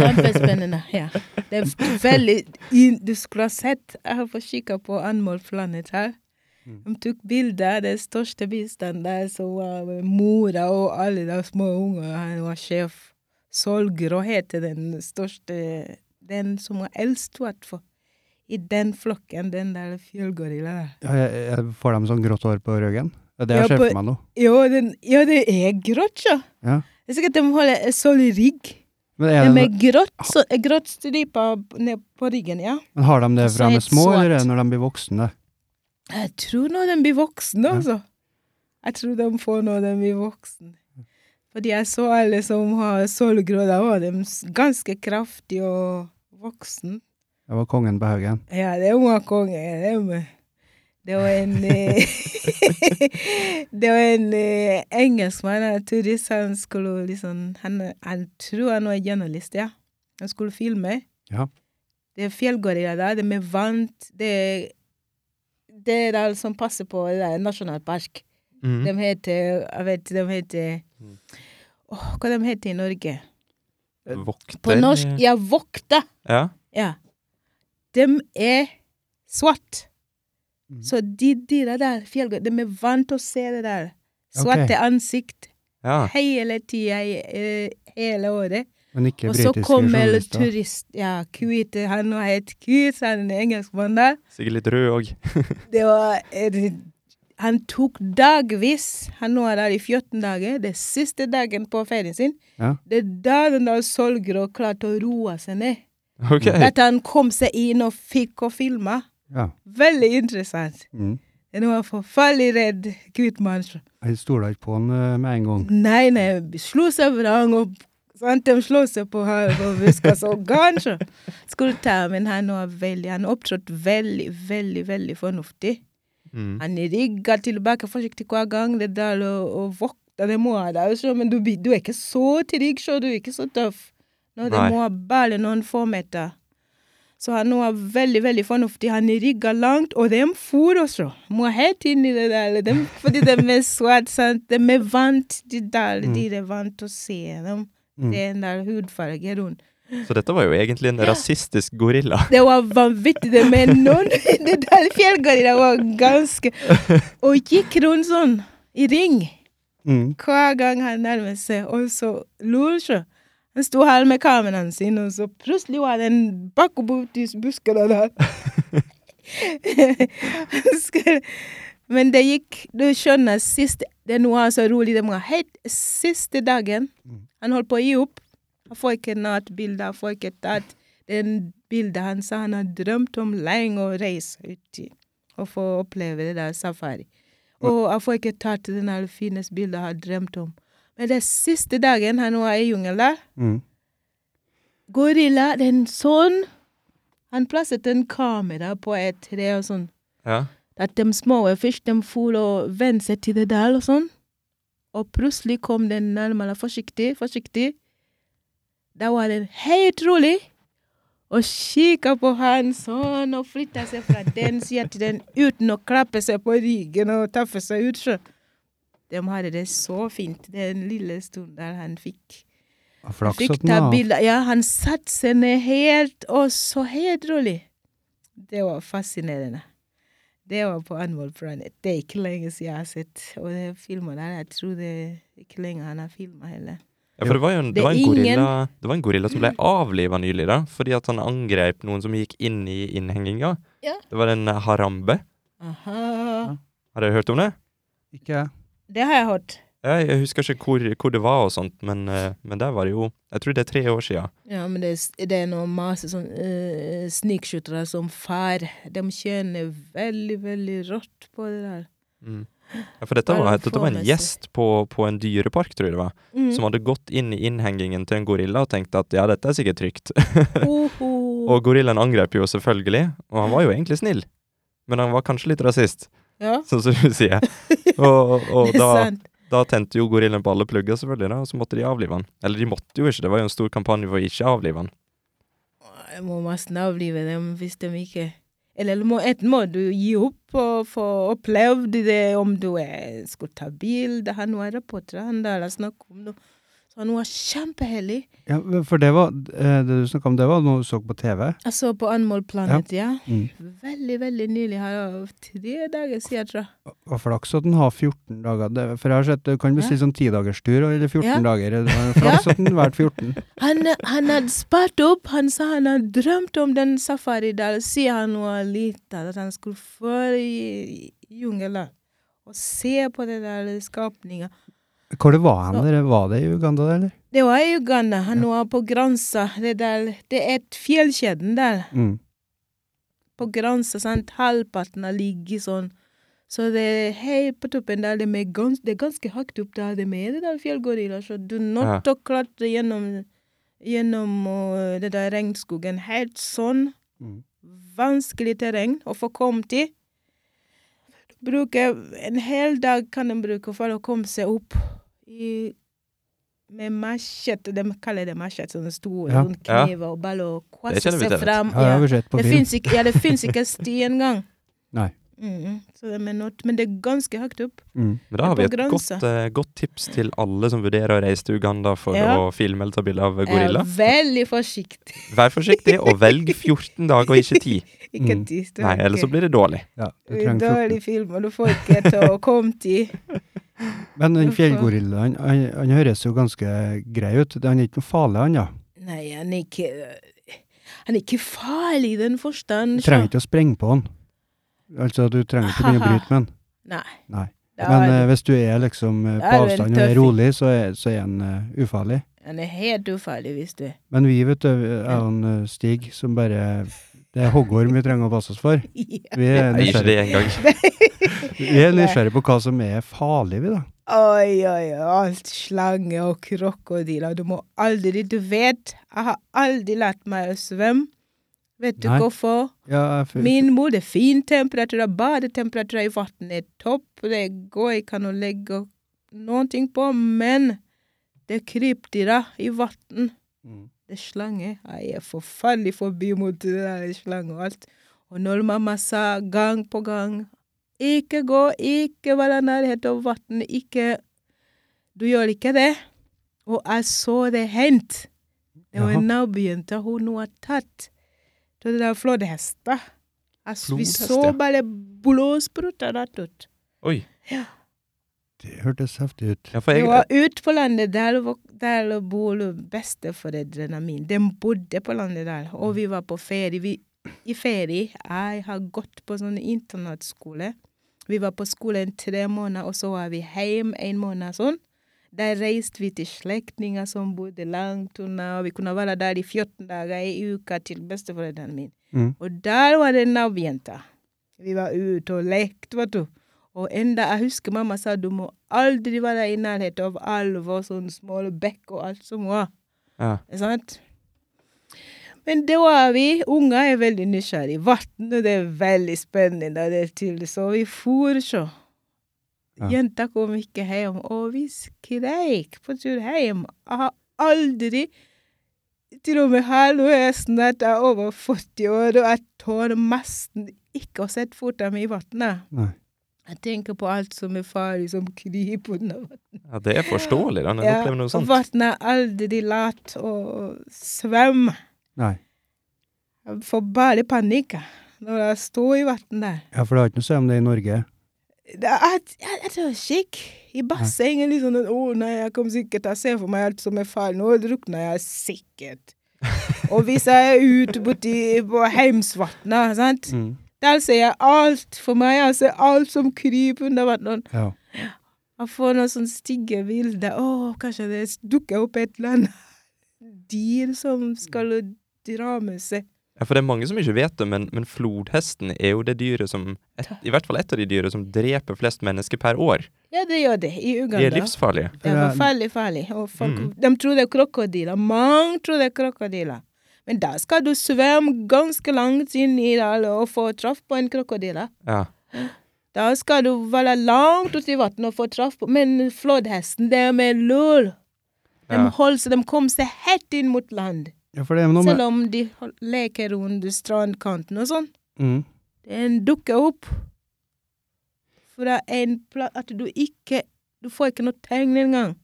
S2: Kjempespennende. Ja. Det er f- veldig in, Du skulle ha sett Jeg har fått kikket på Animal Planet her.
S1: Mm.
S2: De tok bilder av den største bisten der, så var mora og alle de små ungene Han var sjef. Solgrå heter den største Den som var eldst, i hvert fall. I den flokken, den der fjellgorillaen der.
S1: Ja, jeg, jeg får dem sånn grått hår på ryggen. Det er det jeg
S2: Ja,
S1: ser
S2: på-
S1: for meg nå.
S2: Ja, den, ja, det er grått, ja.
S1: Ja.
S2: Det er sikkert de holder en sånn rigg.
S1: Men,
S2: De
S1: er det,
S2: er grått, så, grått striper ned på ryggen, ja.
S1: no- men har de det
S2: så
S1: fra de
S2: helt
S1: er små, eller er
S2: svart.
S1: det når de blir voksne?
S2: Jeg tror når de blir voksne, altså. Jeg tror de får når de blir voksne. Fordi jeg så alle som har solgrå, da var de s- ganske kraftige og voksne.
S1: Det var kongen på haugen.
S2: Ja, det var konge. Det var, det var en eh, Det var en eh, engelskmann, en turist, han skulle liksom han, Jeg tror han var journalist, ja. Han skulle filme.
S1: Ja.
S2: Det er fjellgorilla der, det er med vant Det er det er de som passer på det der nasjonalpark.
S3: Mm.
S2: De heter Jeg vet de heter
S3: Mm.
S2: Åh, hva de heter i Norge?
S3: Eh, Vokter
S2: På
S3: eh,
S2: norsk? Ja, vokter.
S3: Ja.
S2: Ja. De er svart.
S1: Mhm.
S2: Så de dyra der, fjellgå, de er vant til å se det der. Svarte ansikt
S1: Ah.
S3: ja.
S2: hele tida, hele året.
S1: Men ikke
S2: Og så
S1: britiske
S2: kommer
S1: journalister.
S2: turist, ja, hvit, han var helt hvit, så han er engelskmann der.
S3: Sikkert litt rød òg.
S2: Det var eh, Han tok dagvis. Han var der i 14 dager. Det siste dagen på ferien sin.
S1: Ja.
S2: Det er da den der solgrå klarte å roe seg ned.
S3: Ok.
S2: At han kom seg inn og fikk å filme.
S1: Ja.
S2: Veldig interessant.
S1: Mm.
S2: Han var forferdelig redd hvit mann.
S1: Jeg stoler ikke på han eh, med en gang.
S2: Nei, nei, slo seg vrang og sant, de slo seg på her og hviska så kanskje. Skulle ta, men han var veldig, han opptrådte veldig, veldig, veldig fornuftig.
S3: Mm.
S2: Han rigga tilbake forsiktig hver gang uh, det der og, og vokta det må han da, så, men du, blir- du er ikke så trygg, så du er ikke så tøff. Nå det
S3: Nei.
S2: må bare noen få meter. Så han var veldig, veldig fornuftig. Han rigga langt, og de for også. Må helt inn i det der. De, fordi de er svart, sant. De er uh, vant de der, de er vant til å se dem.
S1: Mm.
S2: Den der hudfargen rundt.
S3: Så dette var jo egentlig en rasistisk gorilla.
S2: Det var vanvittig, det med noen Det der fjellgardina var ganske Og gikk rundt sånn, i ring,
S1: Mm.
S2: hver gang han nærmet seg, og så lurte Han sto her med kameraen sin, og så plutselig var den bakbort i buskene der. Han skulle- Men det gikk Du skjønner, siste Den var så altså rolig. Det var helt siste dagen. Han holdt på å gi opp. Han får ikke nattbilder, han får ikke tatt den bildet han sa han har drømt om lenge, å reise ut i og få oppleve det der safari. Og han får ikke tatt den aller fineste bildet han har drømt om. Men den siste dagen han var i jungelen der,
S1: Mm.
S2: gorilla, den sånn Han plasset en kamera på et tre og sånn.
S3: Ja.
S2: At de små fisk, de for og vendte seg til det der og sånn. Og plutselig kom den nærmere forsiktig, forsiktig. Da var den helt rolig og kikket på han sånn og flyttet seg fra den siden til den uten å klappe seg på ryggen og taffe seg ut. Så. De hadde det så fint den lille stunden der han fikk
S1: Og Flaks
S2: fikk
S1: at den
S2: ta
S1: var
S2: bilder. Ja, han satte seg ned helt, og så helt rolig. Det var fascinerende. Det var på Animal Planet. Det er ikke lenge siden jeg har sett. Og det filmen der, jeg tror det er ikke lenge han har filma heller.
S3: Ja, for det var jo en, det
S2: Det er
S3: var en,
S2: ingen-
S3: gorilla, det var en gorilla som ble avliva nylig, da, fordi at han angrep noen som gikk inn i innhenginga.
S2: Ja.
S3: Det var en eh, harambe.
S2: Aha.
S3: Har dere hørt om det?
S1: Ikke jeg.
S2: Det har jeg hørt.
S3: Ja, Jeg husker ikke hvor, hvor det var og sånt, men, eh, men der var det jo Jeg tror det er tre år sia.
S2: Ja, men det, er s- det er noen masse sånn uh, snikskyttere som far. De tjener veldig, veldig rått på det der.
S3: Mm. Ja, for dette
S2: Bare
S3: var, dette var en
S2: forholdsmessig.
S3: gjest på, på en dyrepark, tror jeg det var,
S2: Mm.
S3: som hadde gått inn i innhengingen til en gorilla og tenkt at ja, dette er sikkert trygt.
S2: Mm. Oho.
S3: Og gorillaen angrep jo selvfølgelig, og han var jo egentlig snill. Men han var kanskje litt rasist,
S2: ja,
S3: sånn som du sier. Og, og
S2: det er
S3: da,
S2: sant.
S3: da tente jo gorillaen på alle plugger, selvfølgelig, da, og så måtte de avlive han. Eller de måtte jo ikke, det var jo en stor kampanje for å ikke avlive han.
S2: Jeg må nesten avlive dem hvis de ikke Eller må, enten må du gi opp og få opplevd det, om du er, skal ta bilde Han var reporter, han der jeg snakket om nå. Så han var kjempeheldig.
S1: Ja, for det var eh, Det du snakka om, det var noe du så på TV?
S2: Jeg så på Animal Planet, ja.
S1: Mm.
S2: Veldig, veldig nylig. Her av tre dager siden, tror jeg.
S1: Og flaks at den har 14 dager. Det, for jeg har sett du kan bestille sånn 10-dagerstur eller 14
S2: Ja.
S1: dager. Det var Flaks at den valgte 14.
S2: Han, han hadde spart opp. Han sa han hadde drømt om den safari der siden han var liten. At han skulle føre i i jungelen og se på den der skapningen.
S1: Hvor det var han der? Var det i Uganda, det, eller?
S2: Det var i Uganda. Han var på grensa. Det, der- det er et fjellkjeden der.
S1: Mm.
S2: På grensa, sant. Halvparten har ligget sånn. Så det er helt på toppen der. Det, med gans, det er ganske høyt opp der. Det er med det der fjellgorilla. Så du er
S3: Ja.
S2: nødt til å klatre gjennom, gjennom øh, det der regnskogen. Helt sånn.
S1: Mm.
S2: Vanskelig terreng å få kommet i. Bruker, en hel dag kan de bruke for å komme seg opp i, med machete. De kaller det machete, sånne store
S1: Ja.
S2: rundt kniver og bare å
S3: Det
S2: kvasse
S3: kjenner
S2: seg
S3: vi til, vet du.
S2: fram.
S1: Ja, det har vi sett på
S2: Det
S1: film.
S2: fins ikke, ja, det finnes ikke sti engang.
S1: Nei.
S2: Mm, så de er nådd, men det er ganske høyt opp.
S1: Mm.
S3: Men da har vi
S2: Det er
S3: et
S2: på
S3: godt,
S2: grensa.
S3: eh, godt tips til alle som vurderer å reise til Uganda for
S2: Ja.
S3: å filme eller ta bilde av gorilla.
S2: Jeg er veldig forsiktig.
S3: Vær forsiktig, og velg 14 dager og ikke 10.
S2: Ikke
S1: Mm.
S2: tiss.
S3: Nei, ellers så blir det dårlig.
S1: Ja, du
S2: det er
S1: trenger 14.
S2: dårlig film, og du får ikke til å komme til.
S1: Men den
S2: Hvorfor?
S1: fjellgorillaen, han, han høres jo ganske grei ut. Han er ikke noe farlig, han da.
S2: Nei, han er ikke øh, Han er ikke farlig i den forstand.
S1: Du trenger ikke å sprenge på han. Altså, du trenger ikke begynne å bryte med han.
S2: Nei.
S1: Nei.
S2: Da
S1: Men
S2: er
S1: eh, hvis du er liksom eh,
S2: Da
S1: på
S2: er du en
S1: avstand og er
S2: tøffing.
S1: rolig, så er, så er han eh, ufarlig.
S2: Han er helt ufarlig hvis du
S1: Men vi, vet du, er han eh, Stig som bare Det er hoggorm vi trenger å passe oss for.
S2: ja.
S1: Vi er
S3: Nei, ikke det
S1: nysgjerrige
S3: engang.
S1: vi er nysgjerrig på hva som er farlig, vi, da.
S2: Oi, oi, oi. Alt slange og krokodiller. Du må aldri Du vet, jeg har aldri lært meg å svømme. Vet du
S1: Nei.
S2: hvorfor?
S1: Ja, for,
S2: Min mor, det er fin temperatur. Badetemperatur i vann er topp. Det går ikke an å legge noe på, men det er krypdyr i vann.
S1: Mm.
S2: Det er slange. Jeg er forferdelig forbi mot det der slange og alt. Og når mamma sa gang på gang Ikke gå, ikke være i nærheten av vann, ikke Du gjør ikke det. Og jeg så det hendt. Det var
S1: Jaha.
S2: nabojenta hun nå har tatt. Så Det der flodhester. Altså, vi
S3: Flodhest,
S2: så
S3: ja.
S2: bare blåspruter rett ut.
S3: Oi.
S1: Det hørtes heftig ut.
S3: Ja, for
S2: Det
S3: jeg,
S2: var ut på landet, der, vok- der bor besteforeldrene mine. De bodde på landet der, og vi var på ferie. Vi, I ferie jeg har gått på sånn internatskole. Vi var på skolen tre måneder, og så var vi hjemme en måned sånn. Der reiste vi til slektninger som bodde langt unna, og vi kunne være der i 14 dager i uka til besteforeldrene mine.
S1: Mm.
S2: Og der var det nabojenta. Vi var ute og lekte, vet du. Og enda jeg husker mamma sa du må aldri være i nærheten av alv og sånn små bekk og alt som var.
S3: ja.
S2: Ikke sant? Men det var vi. Unger er veldig nysgjerrige. Vann, det er veldig spennende der til. Så vi for så.
S1: Ja.
S2: Jenta kom ikke hjem, og vi skreik på tur hjem. Jeg har aldri Til og med her nå er jeg snart jeg er over 40 år, og jeg tør nesten ikke å sette føttene mine i vannet.
S1: Nei.
S2: Jeg tenker på alt som er farlig, som kryper under vann.
S3: ja, det er forståelig, da, når du opplever noe
S2: og
S3: sånt.
S2: vannet er aldri latt å svømme.
S1: Nei.
S2: Jeg får bare panikk jeg, når jeg står i vann der.
S1: Ja, for det har ikke noe å si om det er i Norge.
S2: Det er, jeg, jeg, jeg tør ikke. I bassenget liksom Å nei, jeg kommer sikkert Jeg ser for meg alt som er farlig. Nå drukner jeg sikkert. og hvis jeg er ute borti på Heimsvatnet, sant,
S1: Mm.
S2: der ser jeg alt for meg. Jeg ser alt som kryper under vannet.
S1: Ja.
S2: Jeg får noen sånne stygge bilder. Å, kanskje det dukker opp et eller annet dyr som skal dra med seg
S3: Ja, for det er mange som ikke vet det, men, men flodhesten er jo det dyret som et, I hvert fall et av de dyra som dreper flest mennesker per år.
S2: Ja, det gjør det i
S3: De er
S2: Uganda.
S3: livsfarlige.
S2: Det er forferdelig farlig. Og folk,
S3: Mm.
S2: De tror det er krokodiller. Mange tror det er krokodiller. Men da skal du svømme ganske langt inn i dalen og få traff på en krokodille.
S3: Ja.
S2: Da skal du være langt ute i vannet og få traff på Men flodhesten, det er med lur. De
S3: Ja.
S2: holder seg, de kommer seg helt inn mot land.
S1: Ja, for det er noe med
S2: Selv om de hol- leker rundt strandkanten og sånn.
S1: mm.
S2: Den dukker opp fra en plass at du ikke Du får ikke noe tegn engang.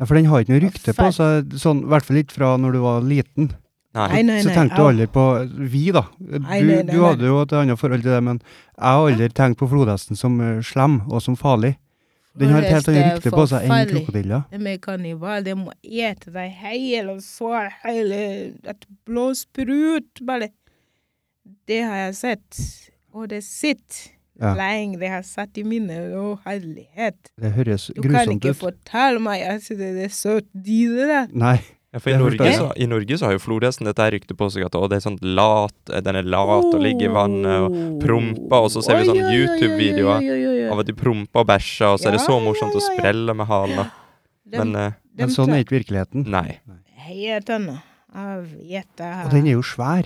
S1: Ja, for den har ikke noe rykte på seg, sånn, i hvert fall ikke fra når du var liten.
S3: Nei.
S2: Nei, nei,
S1: så
S2: nei,
S1: tenkte du
S2: au.
S1: aldri på Vi, da. Du,
S2: Nei, nei, nei,
S1: du
S2: nei.
S1: hadde jo et annet forhold til det, men jeg har aldri tenkt på flodhesten som eh, slem og som farlig. Den har et helt
S2: Flodhest
S1: annet
S2: er
S1: rykte på seg enn
S2: forferdelig.
S1: krokodiller.
S2: De er kannibal, de må ete deg hel og så hele Et blåsprut, bare. Det har jeg sett. Og det sitter
S1: Ja.
S2: lenge. Det har jeg satt i minnet. Å, herlighet.
S1: Det høres
S2: Du kan
S1: grusomt
S2: ikke
S1: ut.
S2: fortelle meg at det er søt dyr, det der.
S1: Nei.
S3: Ja, for i
S1: Jeg
S3: Norge,
S1: forstår.
S3: så, I Norge så har jo flodhesten dette her ryktet på seg at å, det er sånn lat, den er lat og ligger i vannet og promper, og så ser vi
S2: Oh. Oi, oi, oi,
S3: sånne
S2: oi, oi,
S3: YouTube-videoer
S2: oi, oi, oi, oi.
S3: av at de promper og bæsjer, og så er det så
S2: Oh. Ja,
S3: morsomt
S2: ja,
S3: å
S2: ja, ja.
S3: sprelle med halen.
S2: De-
S3: Men eh,
S2: de
S1: Men sånn
S2: tar
S1: er ikke virkeligheten.
S3: nei.
S2: Helt annet. Av gjetta
S1: Og den er jo svær.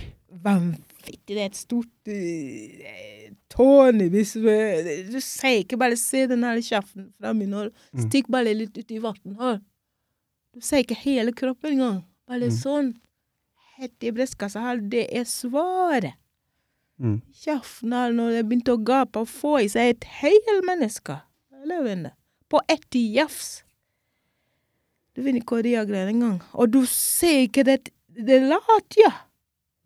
S2: vanvittig. Det er et stort eh, tårn i hvis du- Du sier ikke bare 'se den her kjeften fra min hår',
S1: Mm.
S2: stikk bare litt ut i vannet her. Du sier ikke hele kroppen engang. Bare
S1: Mm.
S2: sånn. Helt i brystkassa her. Det er svaret.
S1: Mm.
S2: Kjeften her, når det begynte å gape og få i seg et helt menneske. Levende. På ett jafs. Du vinner Korea-greia engang. Og du ser ikke det Det er lat, ja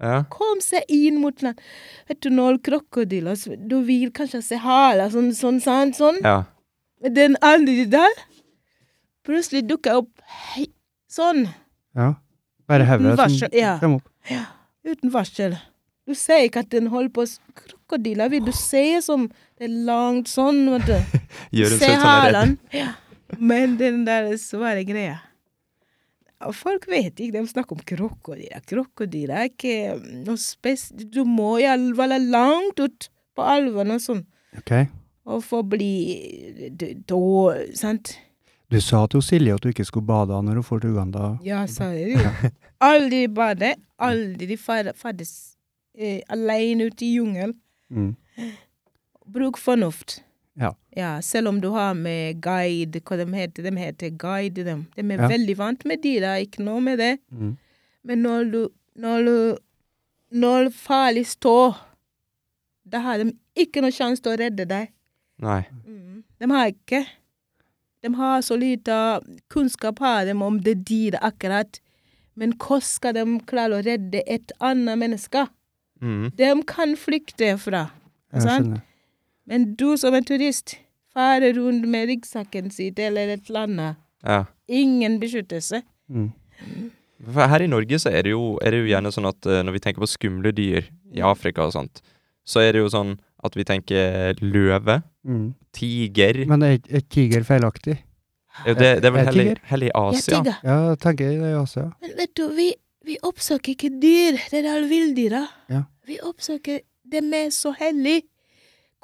S3: Ja.
S2: kom seg inn mot land. Vet du, når krokodiller så- Du vil kanskje se haler, sånn, sånn, sånn. sånn.
S3: ja.
S2: Men Den andre der plutselig dukker opp hei, sånn,
S1: Ja. Bare hodet som
S2: varsel, ja.
S1: kommer opp.
S2: uten varsel. Du ser ikke at den holder på s- Krokodiller vil du se som det er langt sånn, vet du.
S3: Gjør hun
S2: se
S3: seg sånn redd?
S2: halen. Ja. Men den der svære greia Og Folk vet ikke, de snakker om krokodiller. Krokodiller er ikke noe spes... Du må i alle fall langt ut på elvene og sånn.
S1: Ok.
S2: og forbli d- da, sant?
S1: Du sa til Silje at du ikke skulle bade når hun dro til Uganda.
S2: Ja, sa jeg jo. Aldri bade, aldri fer- ferdes eh, alene ute i jungelen.
S1: Mm.
S2: Bruk fornuft.
S1: Ja.
S2: Ja, selv om du har med guide, hva de heter, de heter guide, dem. De er
S1: Ja.
S2: veldig vant med de, det er ikke noe med det.
S1: Mm.
S2: Men når du, når du, når farlig står, da har de ikke noe sjanse til å redde deg.
S3: Nei.
S2: Mm. De har ikke. De har så lite kunnskap har de om det dyret akkurat. Men hvordan skal de klare å redde et annet menneske?
S3: Mm.
S2: De kan flykte fra.
S1: Jeg
S2: sant?
S1: skjønner.
S2: Men du som en turist farer rundt med ryggsekken sin eller et eller annet.
S3: Ja.
S2: Ingen beskyttelse.
S1: Mm.
S3: For her i Norge så er det jo, er det jo gjerne sånn at eh, når vi tenker på skumle dyr i Afrika og sånt, så er det jo sånn at vi tenker løve,
S1: Mm.
S3: tiger
S1: Men er ikke er ikke tiger feilaktig?
S3: Jo, det, det er vel
S1: Er
S3: heller,
S1: tiger?
S3: heller i
S2: Jeg
S3: Asia.
S2: tigger.
S1: Ja, jeg tenker jeg det også, ja.
S2: Men vet du, vi, vi oppsøker ikke dyr. Det er alle villdyra.
S1: Ja.
S2: Vi oppsøker det som er så hellig.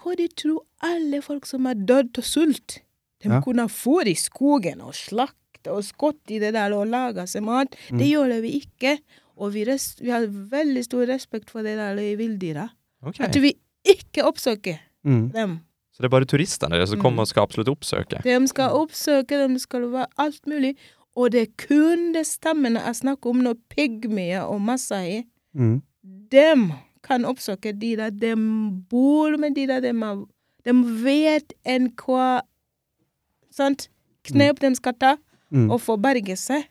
S2: Hva de tror alle folk som har dødd av sult De
S1: Ja.
S2: kunne få i skogen og slakte og skutt i det der og lage seg mat.
S1: Mm.
S2: Det gjør vi ikke. Og vi, res vi har veldig stor respekt for det der i villdyra.
S3: Ok.
S2: At vi ikke oppsøker
S1: Mm.
S2: dem.
S3: Så det er bare turistene der som kommer og skal absolutt oppsøke.
S2: De skal oppsøke, de skal være alt mulig. Og det er kun det stemmene jeg snakker om når pygmier og masai
S1: Mm.
S2: dem kan oppsøke de der dem bor med de der dem har Dem vet en hva sant, knep dem skal ta
S1: Mm.
S2: og få berge seg.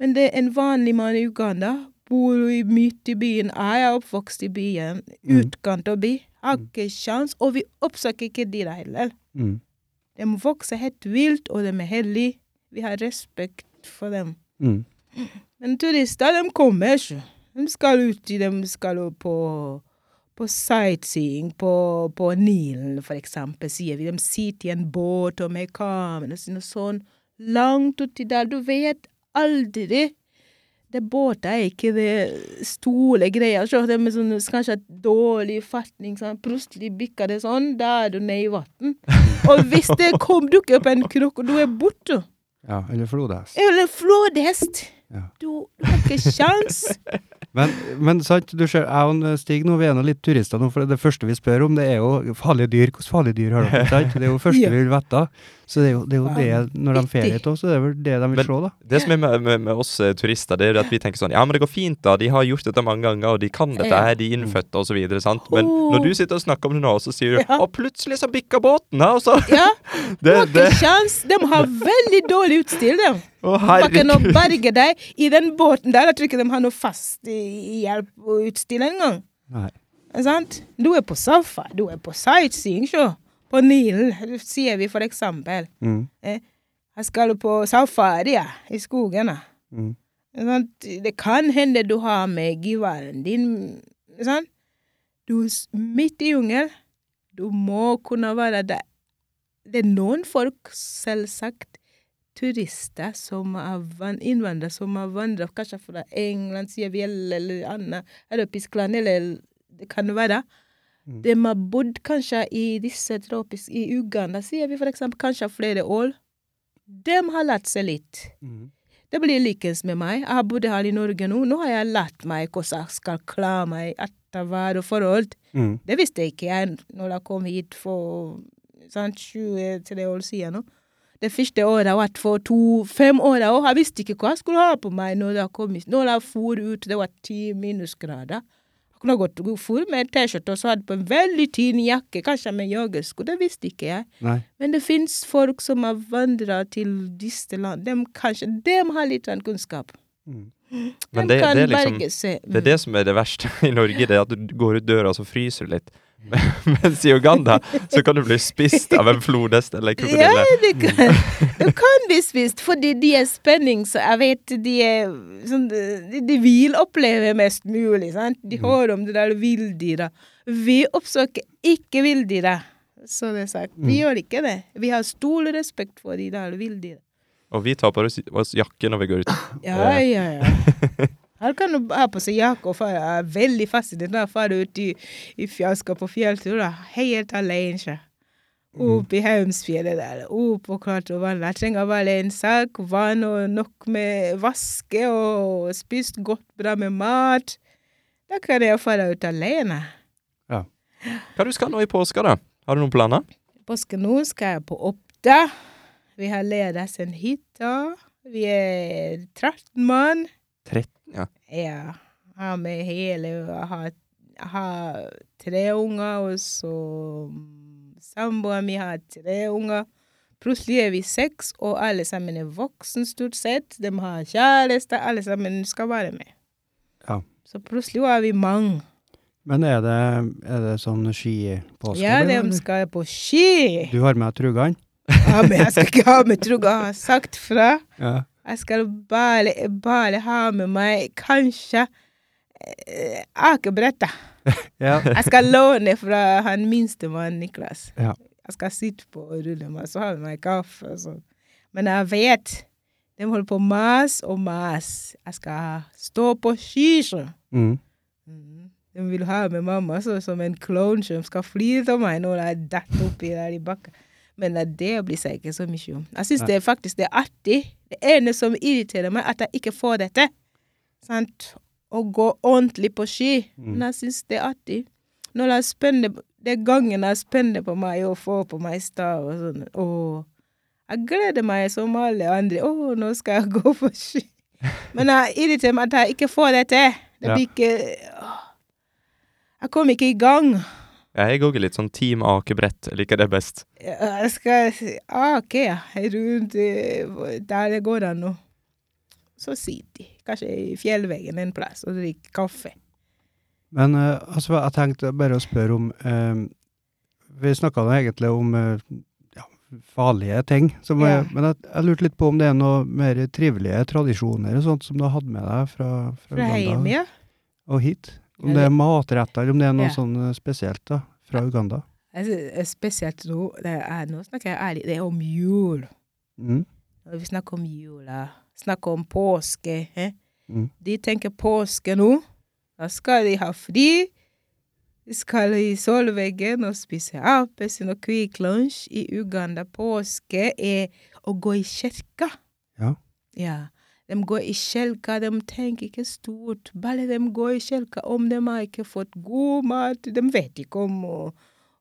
S2: Men det er en vanlig mann i Uganda. Bor jo i- midt i byen. Jeg er oppvokst i byen.
S1: Mm.
S2: Utkant av by. Har ikke sjans, og vi oppsøker ikke de der heller.
S1: Mm.
S2: De vokser helt vilt, og de er hellige. Vi har respekt for dem.
S1: Mm.
S2: Men turister, de kommer ikke. De skal ut i De skal jo på, på sightseeing på, på Nilen, for eksempel, sier vi. De sitter i en båt og med kameraene sine og sånn. Langt uti der. Du vet aldri Det båter er ikke det store greia. Se, det med sånn kanskje et dårlig fatning, sånn. plutselig bikker det sånn, da er du nede i vann. Og hvis det kom, dukker opp en krok, og du er borte.
S1: Ja, eller flodhest.
S2: Eller flådhest.
S1: Ja.
S2: Du, du har ikke sjans.
S1: Men, men sant, du ser, jeg og en Stig nå, vi er nå litt turister nå, for det første vi spør om, det er jo farlige dyr. Hvilke farlige dyr har dere? Sant? Det er jo det første
S2: Ja.
S1: vi vil vite. Så det er jo det, er jo det når de
S2: Vanvittig.
S1: ferier til oss, så det er vel det de vil
S3: Men-
S1: se, da.
S3: Det som er med, med, med oss eh, turister, det er jo at vi tenker sånn Ja, men det går fint, da. De har gjort dette mange ganger, og de kan dette
S2: Ja.
S3: her, de er innfødte, og så videre, sant. Men
S1: Oh.
S3: når du sitter og snakker om det nå, så sier du
S2: Ja.
S3: Og plutselig så bikker båten, ja, og så
S2: Ja, du
S3: det,
S2: har
S3: det,
S2: ikke sjans. De har veldig dårlig utstyr, de.
S3: Å,
S2: Bakken å
S3: herregud.
S2: berge deg i den båten der. Jeg tror ikke de har noe fast i- i hjelp og utstyr engang.
S1: Nei.
S2: Er Sant? Du er på safari, du er på sightseeing, sjå. På Nilen, sier vi for eksempel.
S1: Mm.
S2: Eh, Jeg skal på safari ja, i skogen. ja.
S1: Mm.
S2: Er Sant? Det kan hende du har med givaren din. er Sant? Du er s- midt i jungel. Du må kunne være der. Det er noen folk, selvsagt, turister som er van- innvandrere som har vandret kanskje fra England, sier vi, eller, eller annet europeisk land, eller det kan være.
S1: Mm.
S2: De har bodd kanskje i disse tropiske I Uganda, sier vi for eksempel, kanskje flere år. De har lært seg litt.
S1: Mm.
S2: Det blir likens med meg. Jeg har bodd her i Norge nå. Nå har jeg lært meg hvordan jeg skal klare meg etter vær og forhold.
S1: Mm.
S2: Det visste ikke jeg når jeg kom hit for sånn 23 år siden. nå. Det første året har vært for to-fem år. Og jeg visste ikke hva jeg skulle ha på meg når jeg kom hit. Når jeg for ut, det var ti minusgrader. Jeg kunne godt for med T-skjorte og så hadde på en veldig tynn jakke, kanskje med joggesko. Det visste ikke jeg.
S1: Nei.
S2: Men det fins folk som har vandra til disse land. Dem kanskje, dem har litt annen kunnskap.
S1: Mm.
S2: Dem
S3: Men det,
S2: kan Mm.
S3: det er liksom
S2: berge seg.
S3: Det er det som er det verste i Norge, det er at du går ut døra og så fryser du litt. Mens i Uganda så kan du bli spist av en flodhest eller en
S2: Ja,
S3: krokodille.
S2: det kan, det kan bli spist, fordi de er spenning, så jeg vet de er sånn, de, de vil oppleve mest mulig, sant? De
S3: Mm.
S2: hører om det der villdyra. Vi oppsøker ikke villdyra, så det er sagt.
S3: Mm.
S2: Vi gjør ikke det. Vi har stor respekt for de der villdyra.
S3: Og vi tar på oss, oss jakke når vi går ut.
S2: Ja,
S3: Eh.
S2: ja, ja. Her kan du ha på seg jakke og fare. Jeg er veldig fascinert når jeg drar ut i, i fjellskap på fjelltur. da. Helt alene. ikke? Opp i Helmsfjellet der. Opp og klart å vanne. Jeg trenger bare en sak, vann og nok med vaske og spist godt, bra med mat. Da kan jeg dra ut alene.
S3: Hva du skal nå i påska, da? Har du noen planer?
S2: Påske nå skal jeg på Oppda. Vi har leid oss en hytte. Vi er 13 mann.
S3: 13, ja.
S2: Ja. Har med hele Jeg har, jeg har tre unger, og så mm, samboeren min har tre unger. Plutselig er vi seks, og alle sammen er voksne stort sett. De har kjæreste, alle sammen skal være med.
S1: Ja.
S2: Så plutselig var vi mange.
S1: Men er det, er det sånn skipåske?
S2: Ja,
S1: blir det,
S2: de
S1: eller?
S2: skal på ski!
S1: Du har med trugene?
S2: Ja, men jeg skal ikke ha med trugga, jeg har sagt fra.
S1: Ja.
S2: Jeg skal bare, bare ha med meg kanskje eh, akebrettet.
S1: ja.
S2: Jeg skal låne fra han minstemann Niklas.
S1: Ja.
S2: Jeg skal sitte på og rulle meg, så har vi meg kaffe og sånn. Men jeg vet de holder på å mase og mase. Jeg skal stå på ski. så.
S1: Mm.
S2: De Mm-hmm. vil ha med mamma så, som en klovn som skal fly av meg når jeg detter oppi der i bakken. Men eh, det blir seg ikke så mye om. Jeg syns det er faktisk det er artig. Det ene som irriterer meg, er at jeg ikke får dette. Sant? Å gå ordentlig på ski. Men jeg syns det er artig. Når jeg spenner Det er gangen jeg spenner på meg og får på meg stav og sånn. Åh. Jeg gleder meg som alle andre. Å, nå skal jeg gå på ski. Men jeg irriterer meg at jeg ikke får det til. Det
S1: Ja.
S2: blir ikke åh. Jeg kom ikke i gang.
S3: Jeg er også litt sånn Team Akebrett. Jeg liker det best.
S2: Jeg skal si ah, OK, ja. Rundt eh, hvor- der det går an nå. Så sitter de, kanskje i fjellveggen en plass, og drikker kaffe.
S1: Men eh, altså, jeg tenkte bare å spørre om eh, Vi snakka nå egentlig om eh, ja, farlige ting, som,
S2: Ja.
S1: er- men jeg, jeg lurte litt på om det er noe mer trivelige tradisjoner og sånt som du har hatt med deg fra, fra,
S2: Fra
S1: Uganda
S2: hjemme, ja.
S1: og hit? Om
S2: Ja,
S1: det er matretter, eller om det er noe
S2: Ja.
S1: sånn eh, spesielt da, fra Uganda?
S2: Altså, spesielt nå det er, Nå snakker jeg ærlig. Det er om jul.
S1: Mm.
S2: Når vi snakker om jula, snakker om påske eh?
S1: Mm.
S2: De tenker påske nå. Da skal de ha fri. De skal i solveggen og spise appelsin og Quick Lunch. I Uganda påske er å gå i kirka.
S1: Ja.
S2: ja. De går i kirka, de tenker ikke stort. Bare de går i kirka. Om de har ikke fått god mat, de vet ikke om, å-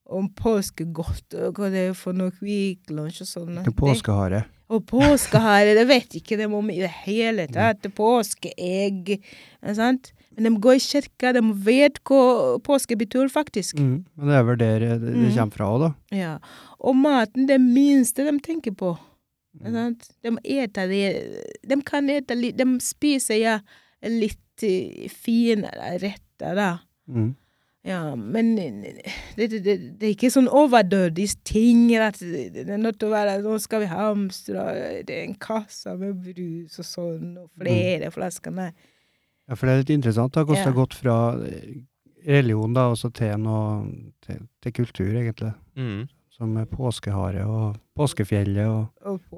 S2: om påskegodt og hva det er for noe Quick Lunch og sånn.
S1: Ikke påskehare.
S2: Og påskehare, det vet ikke de om i det hele tatt. Påskeegg, ikke sant? Men de går i kirka, de vet hva påske betyr, faktisk.
S1: Mm. Men det er vel der eh, det, det
S2: Mm.
S1: kommer fra òg, da.
S2: Ja. Og maten, det minste de tenker på. ikke
S1: Mm.
S2: Sant? De eter det De kan ete litt De spiser ja, litt eh, finere retter, da.
S1: Mm.
S2: Ja, men det, det, det, det er ikke sånn overdødig ting. At det det er nødt til å være Nå skal vi hamstre, og det er en kasse med brus og sånn,
S1: Mm.
S2: og flere flasker. Nei.
S1: Ja, for det er litt interessant da, hvordan det
S2: Ja.
S1: har gått fra eh, religion da, også til, noe, til, til kultur, egentlig.
S3: Mm.
S1: Som eh, påskehare og påskefjellet og
S2: Og på-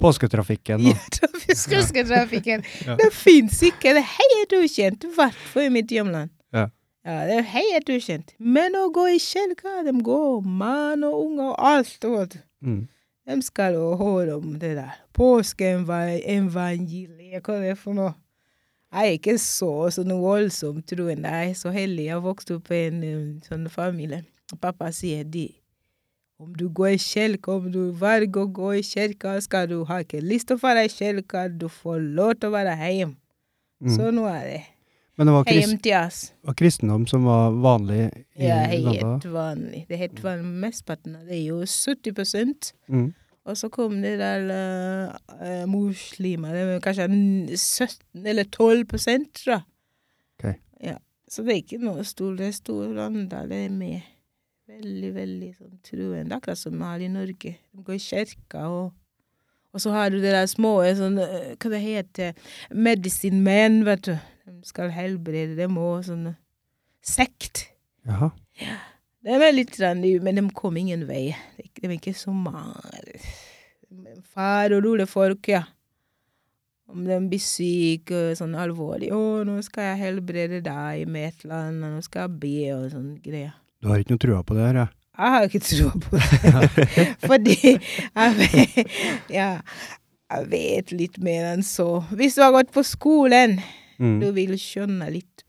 S1: påsketrafikken.
S2: Ja,
S1: Og,
S2: trafisk- trafikken.
S1: Ja.
S2: Det fins ikke. Det er helt ukjent, i hvert fall i mitt hjemland.
S1: Ja.
S2: Ja, det er helt ukjent. Men å gå i kirka, de går, mann og unge og alt. vet du.
S1: mm.
S2: De skal jo høre om det der. Påskeevangeliet, hva er det for noe? Jeg er ikke så sånn voldsom troende. Jeg er så heldig. Jeg vokste opp i en eh, sånn familie. Pappa sier de om du går i kirka, om du velger å gå i kirka, skal du ha ikke lyst til å være i kirka, du får lov til å være hjemme.
S1: Mm.
S2: Så nå er det
S1: Men det var, krist,
S2: hjem til oss.
S1: var kristendom som var vanlig i
S2: Ja,
S1: Uganda?
S2: helt vanlig. Det er helt vanlig. Mesteparten av det er jo 70
S1: Mm.
S2: Og så kom det der eh, eh, muslimer, det var kanskje n- 17 eller 12 prosent, da.
S1: Ok.
S2: Ja. Så det er ikke noe stor, det er stor andel det er med. Veldig, veldig sånn truende, akkurat som vi har i Norge. De går i kirka og Og så har du det der små eh, sånn, eh, hva det heter, medicine men, vet du. De skal helbrede dem òg, sånn sekt.
S1: Jaha.
S2: Det var litt sånn, men de kom ingen vei. Det de var ikke så mange Far og rolig folk, ja. Om de blir syke og sånn alvorlig 'Å, nå skal jeg helbrede deg med et eller annet, nå skal jeg be', og sånn greier.
S1: Du har ikke noe trua på det her, ja?
S2: Jeg har ikke tro på det. Fordi jeg vet, ja, jeg vet litt mer enn så. Hvis du har gått på skolen, du
S1: Mm.
S2: vil skjønne litt,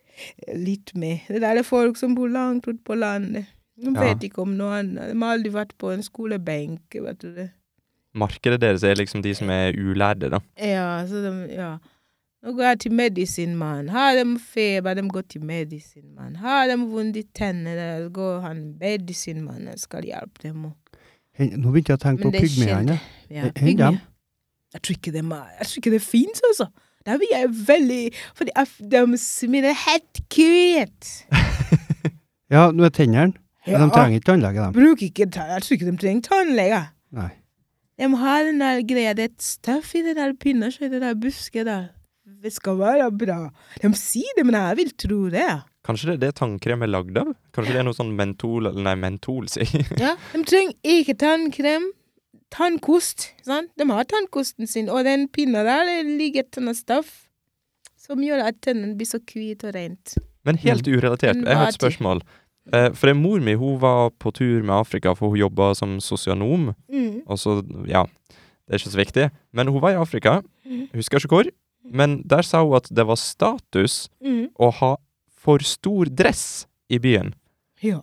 S2: litt mer. Det der er folk som bor langt ute på landet. De
S1: Ja.
S2: vet ikke om noe annet. De har aldri vært på en skolebenk. vet du det.
S3: Markedet deres er liksom de som er ulærde, da.
S2: Ja, så de, ja. Nå går jeg til medisinmann. Har de feber, de går til medisinmann. Har de vondt i tennene, så går han medisinmannen skal hjelpe dem. og-
S1: Hen- Nå begynte jeg å tenke
S2: Men
S1: på
S2: det er
S1: pygmeene.
S2: Ja,
S1: Er- er dem?
S2: pygmy. Jeg tror ikke dem er- jeg tror ikke det fins, altså. Der blir jeg veldig Fordi jeg- de smiler helt kvitt.
S1: Ja, nå er tennene. Men
S2: Ja.
S1: de trenger ikke tannlege, dem.
S2: Bruk ikke tann... Jeg tror ikke de trenger tannlege.
S1: Nei.
S2: De har den der greia, det er et støff i den der pinna, så i det der busket der. Det skal være bra. De sier det, men jeg vil tro det.
S3: Kanskje det er det tannkrem er lagd av? Kanskje det er noe sånn mentol Eller nei, mentol, sier jeg.
S2: Ja, de trenger ikke tannkrem. Tannkost, sant? De har tannkosten sin, og den pinna der det ligger et sånt stoff som gjør at tennene blir så hvite og rent.
S3: Men helt urelatert, jeg har et spørsmål. Eh, For det er mor mi hun var på tur med Afrika, for hun jobba som sosionom.
S2: Mm.
S3: Og så, ja, det er ikke så viktig. Men hun var i Afrika,
S2: mm,
S3: husker ikke hvor. Men der sa hun at det var status
S2: Mm.
S3: å ha for stor dress i byen.
S2: Ja.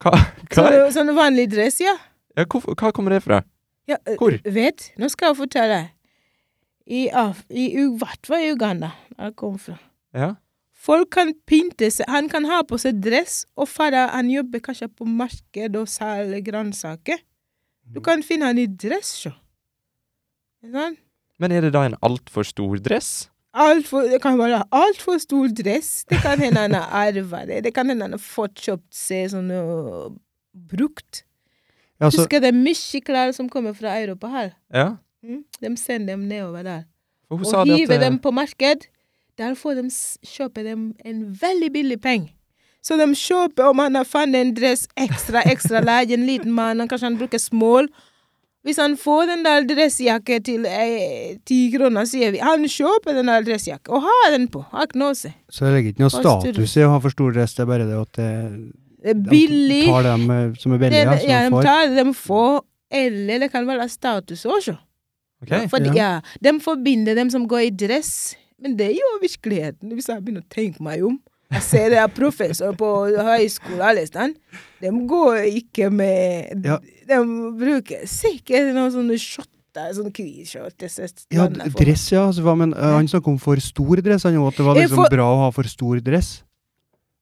S3: Hva,
S2: Så,
S3: hva,
S2: sånn vanlig dress, ja.
S3: ja, hvor, hva kommer det fra?
S2: Ja, ø-
S3: Hvor?
S2: Vet, nå skal jeg fortelle deg. I, Af i U- hvert fall i Uganda, der jeg kom fra.
S3: Ja.
S2: Folk kan pynte seg, han kan ha på seg dress, og fara, han jobber kanskje på marked og selger grønnsaker. Du kan finne han i dress, sjå. Ikke sant?
S3: Men er det da en altfor stor dress?
S2: Alt for, det kan være altfor stor dress. Det kan hende han har arvet det. Det kan hende han har fått kjøpt seg sånn ø, brukt.
S1: Ja, så,
S2: Husker det er mye klær som kommer fra Europa her.
S3: Ja.
S2: Mm? De sender dem nedover der.
S3: For hun sa
S2: og
S3: det
S2: hive
S3: at eh,
S2: dem på marked. Der får de s- kjøpe dem en veldig billig penge. Så de kjøper om han har funnet en dress ekstra, ekstra large, en liten mann, han kanskje han bruker small. Hvis han får den der dressjakke til eh, ti kroner, sier vi han kjøper den der dressjakke og har den på. Har ikke noe å si.
S1: Så det ligger ikke noe
S2: Koster-
S1: status i å ha for stor dress, det er bare det at det,
S2: Det er
S1: de
S2: billig.
S1: tar dem eh, som er
S2: Det,
S1: billige,
S2: det-
S3: altså,
S1: som
S2: ja,
S1: de
S2: de
S1: får.
S2: tar det de får, eller det kan være status også.
S3: eh, Ok.
S2: Fordi,
S1: ja.
S2: ja. de forbinder dem som går i dress, men det er jo virkeligheten. Hvis jeg begynner å tenke meg om Jeg ser det er professor på høyskolen, alle steder. De går ikke med
S1: Ja.
S2: De bruker sikkert noen sånne skjorter, sånne kviskjorter.
S1: Ja, d- dress, ja. Altså, hva, men eh, han snakker om for stor dress, han jo, at det var
S2: Eh,
S1: liksom
S2: for-
S1: bra å ha for stor dress.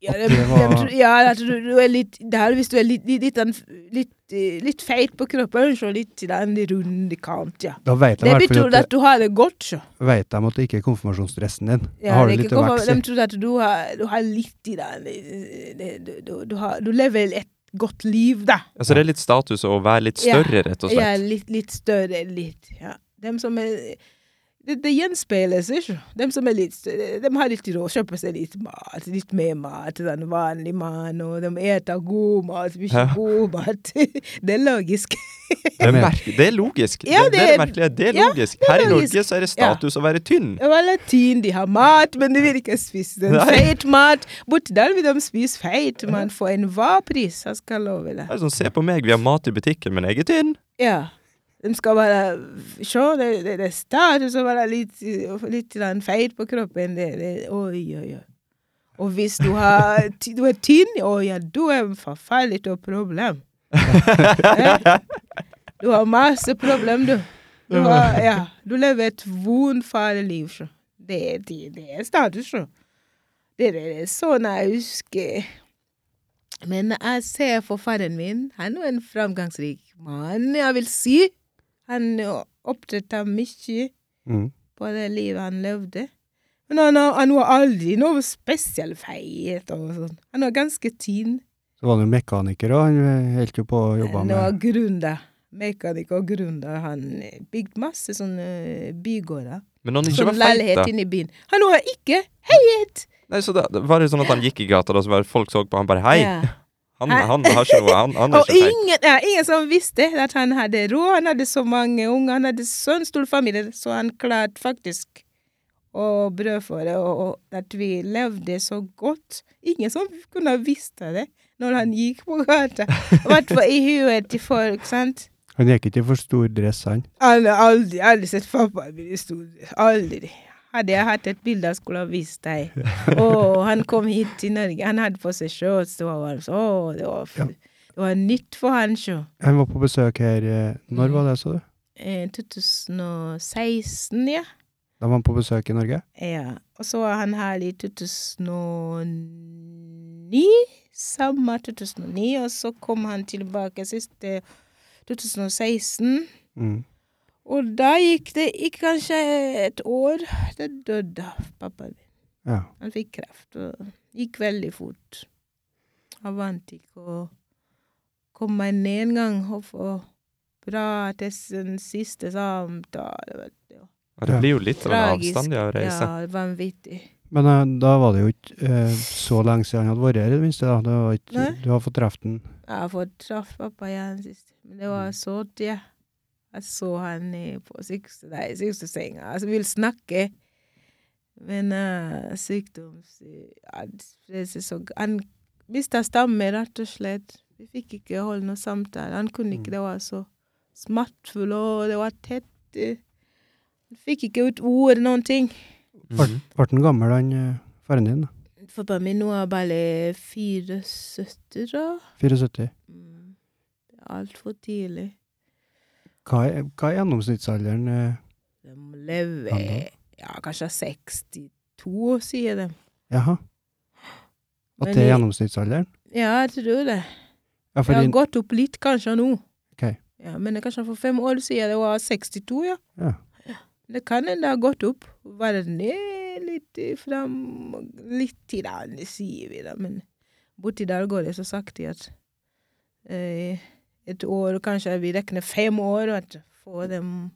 S2: Ja,
S1: At
S2: de,
S1: det var-
S2: de, tror- ja at du, du er litt der hvis du er litt, litt, litt, litt, eh, litt feit på kroppen, så litt i den runde kant, ja.
S1: Da vet de i
S2: Det
S1: hvert
S2: betyr
S1: fall
S2: at
S1: at,
S2: du har det godt, så.
S1: vet de at det ikke er konfirmasjonsdressen din.
S2: Ja,
S1: da har
S2: det
S1: du
S2: er
S1: litt
S2: ikke
S1: å
S2: hvorfor-
S1: vokse
S2: De
S1: i.
S2: tror at du har, du har litt i den eh, det- du, du, du, har, du lever et godt liv, da.
S3: Altså det er litt status å være litt
S2: Ja.
S3: større, rett og
S2: Ja,
S3: slett.
S2: litt, litt større, litt. Ja. Dem som er Det, det gjenspeiles, ikke Dem som er litt større, de har litt råd, kjøper seg litt mat, litt mer mat enn en vanlig mann, og de eter god mat, mye
S3: Ja.
S2: god mat. det er logisk.
S3: Det er, merk- det er logisk.
S2: Ja,
S3: det, det, er det merkelige. Det er
S2: ja,
S3: logisk.
S2: det er
S3: Her i Norge
S2: logisk.
S3: så er det status å være tynn.
S2: Og latin, de har mat, men de vil ikke spise den.
S3: Nei.
S2: Feit mat. Borti der vil de spise feit mat for enhver pris, jeg skal love deg.
S3: Det er sånn, Se på meg, vi har mat i butikken, men jeg er tynn.
S2: Ja. De skal bare se, det, det, det er status å være litt, litt grann feit på kroppen. Det, det, oi, oi, oi. Og hvis du, har, ty- du er tynn, å ja, du er forferdelig til problem. Eh? Du har masse problem, du. Du, har, ja, du lever et vondt, farlig liv. Så. Det, det, det er status, så. Det, det, det er sånn jeg husker. Men jeg ser for faren min. Han er en framgangsrik mann, jeg vil si. Han er opptatt av mye
S1: Mm.
S2: på det livet han levde. Men han, har- han var aldri noe spesiell feit og sånn. Han var ganske tynn.
S1: Så var han jo mekaniker, og han eh, holdt jo på å jobbe
S2: Han var
S1: med
S2: gründer. Mekaniker og gründer. Han eh, bygde masse sånne bygårder.
S3: Men når han ikke
S2: Sånn
S3: var feit, da
S2: leilighet inne i byen. Han var ikke heit!
S3: Nei, så da, da var det sånn at han gikk i gata, da, så var det folk så på han bare Hei,
S2: Ja.
S3: han, han har ikke noe Han, han er
S2: Og
S3: ikke feit.
S2: ingen, ja, ingen som visste at han hadde råd. Han hadde så mange unger, han hadde sånn stor familie, så han klarte faktisk å brødføre, og, og at vi levde så godt. Ingen som kunne ha visst det når han gikk på gata. I hvert fall i huet til folk, sant?
S1: Han gikk ikke i for stor dress, han.
S2: Han har aldri, aldri sett pappaen min i stor Aldri. Hadde jeg hatt et bilde, jeg skulle ha vist deg. Å, han kom hit til Norge. Han hadde på seg shorts, det var varmt. Å, det var, f- det var nytt for han, sjå.
S1: Han var på besøk her eh,
S2: Mm.
S1: Når var det, sa du?
S2: Eh, 2016, ja.
S1: Da var han på besøk i Norge?
S2: ja. Og så var han her i 2009. Samme 2009. Og så kom han tilbake siste 2016.
S1: Mm.
S2: Og da gikk det gikk kanskje et år. Da døde pappa min.
S1: Ja.
S2: Han fikk kreft og gikk veldig fort. Han vant ikke å komme meg ned en gang og få bra til sin siste samtale. vet du.
S3: Ja, Det blir jo litt av en
S2: Tragisk.
S3: avstand i å reise.
S2: Ja, vanvittig.
S1: Men eh, da var det jo ikke eh, så lenge siden han hadde vært her, i det minste. da. Det var ikke,
S2: Nei.
S1: du har fått truffet ham.
S2: Jeg har fått traff pappa igjen sist. Men det var så det. Jeg så han i- på sykeste- nei, sykesenga. Altså, vi vil snakke. Men eh, sykdom så- ja, det er så, Han mista stammen, rett og slett. Vi fikk ikke holde noen samtale. Han kunne ikke Det var så smertefull, og det var tett. eh. Han fikk ikke ut ord, noen ting.
S3: Mhm.
S1: Ble han gammel, han eh, faren din? da?
S2: Pappa min nå er bare 74, da.
S1: 74.
S2: Mm. Det er Altfor tidlig.
S1: Hva er, hva er gjennomsnittsalderen? eh?
S2: De lever
S1: Hallo?
S2: ja, kanskje 62, sier de.
S1: Jaha. At
S2: Men
S1: det er
S2: i-
S1: gjennomsnittsalderen?
S2: Ja, jeg tror det.
S1: Ja,
S2: Det har
S1: fordi,
S2: gått opp litt kanskje nå.
S1: Ok.
S2: Ja, men kanskje for fem år siden det var 62, ja.
S1: Ja.
S2: Det kan hende det har gått opp. Være ned litt fram Litt i den, sier vi da, men borti der går det så sakte at eh, et år, kanskje vi regner fem år, at få dem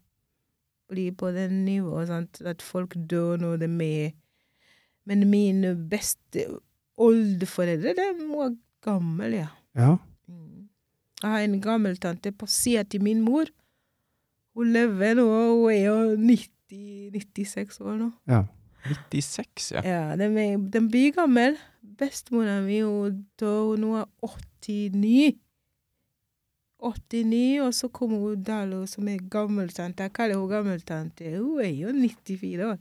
S2: bli på det nivået, sant? at folk dør når de er med. Men mine beste oldeforeldre, de var gamle, ja.
S1: ja.
S2: Mm. Jeg har en gammel tante på sida til min mor. Hun lever nå, hun er jo 90, 96 år nå.
S1: Ja.
S3: 96, ja.
S2: Ja, den, er, den blir gammel. Bestemoren min hun døde hun var 89. 89, og så kom hun Dalo, som er gammeltante. Jeg kaller hun gammeltante. Hun er jo 94 år.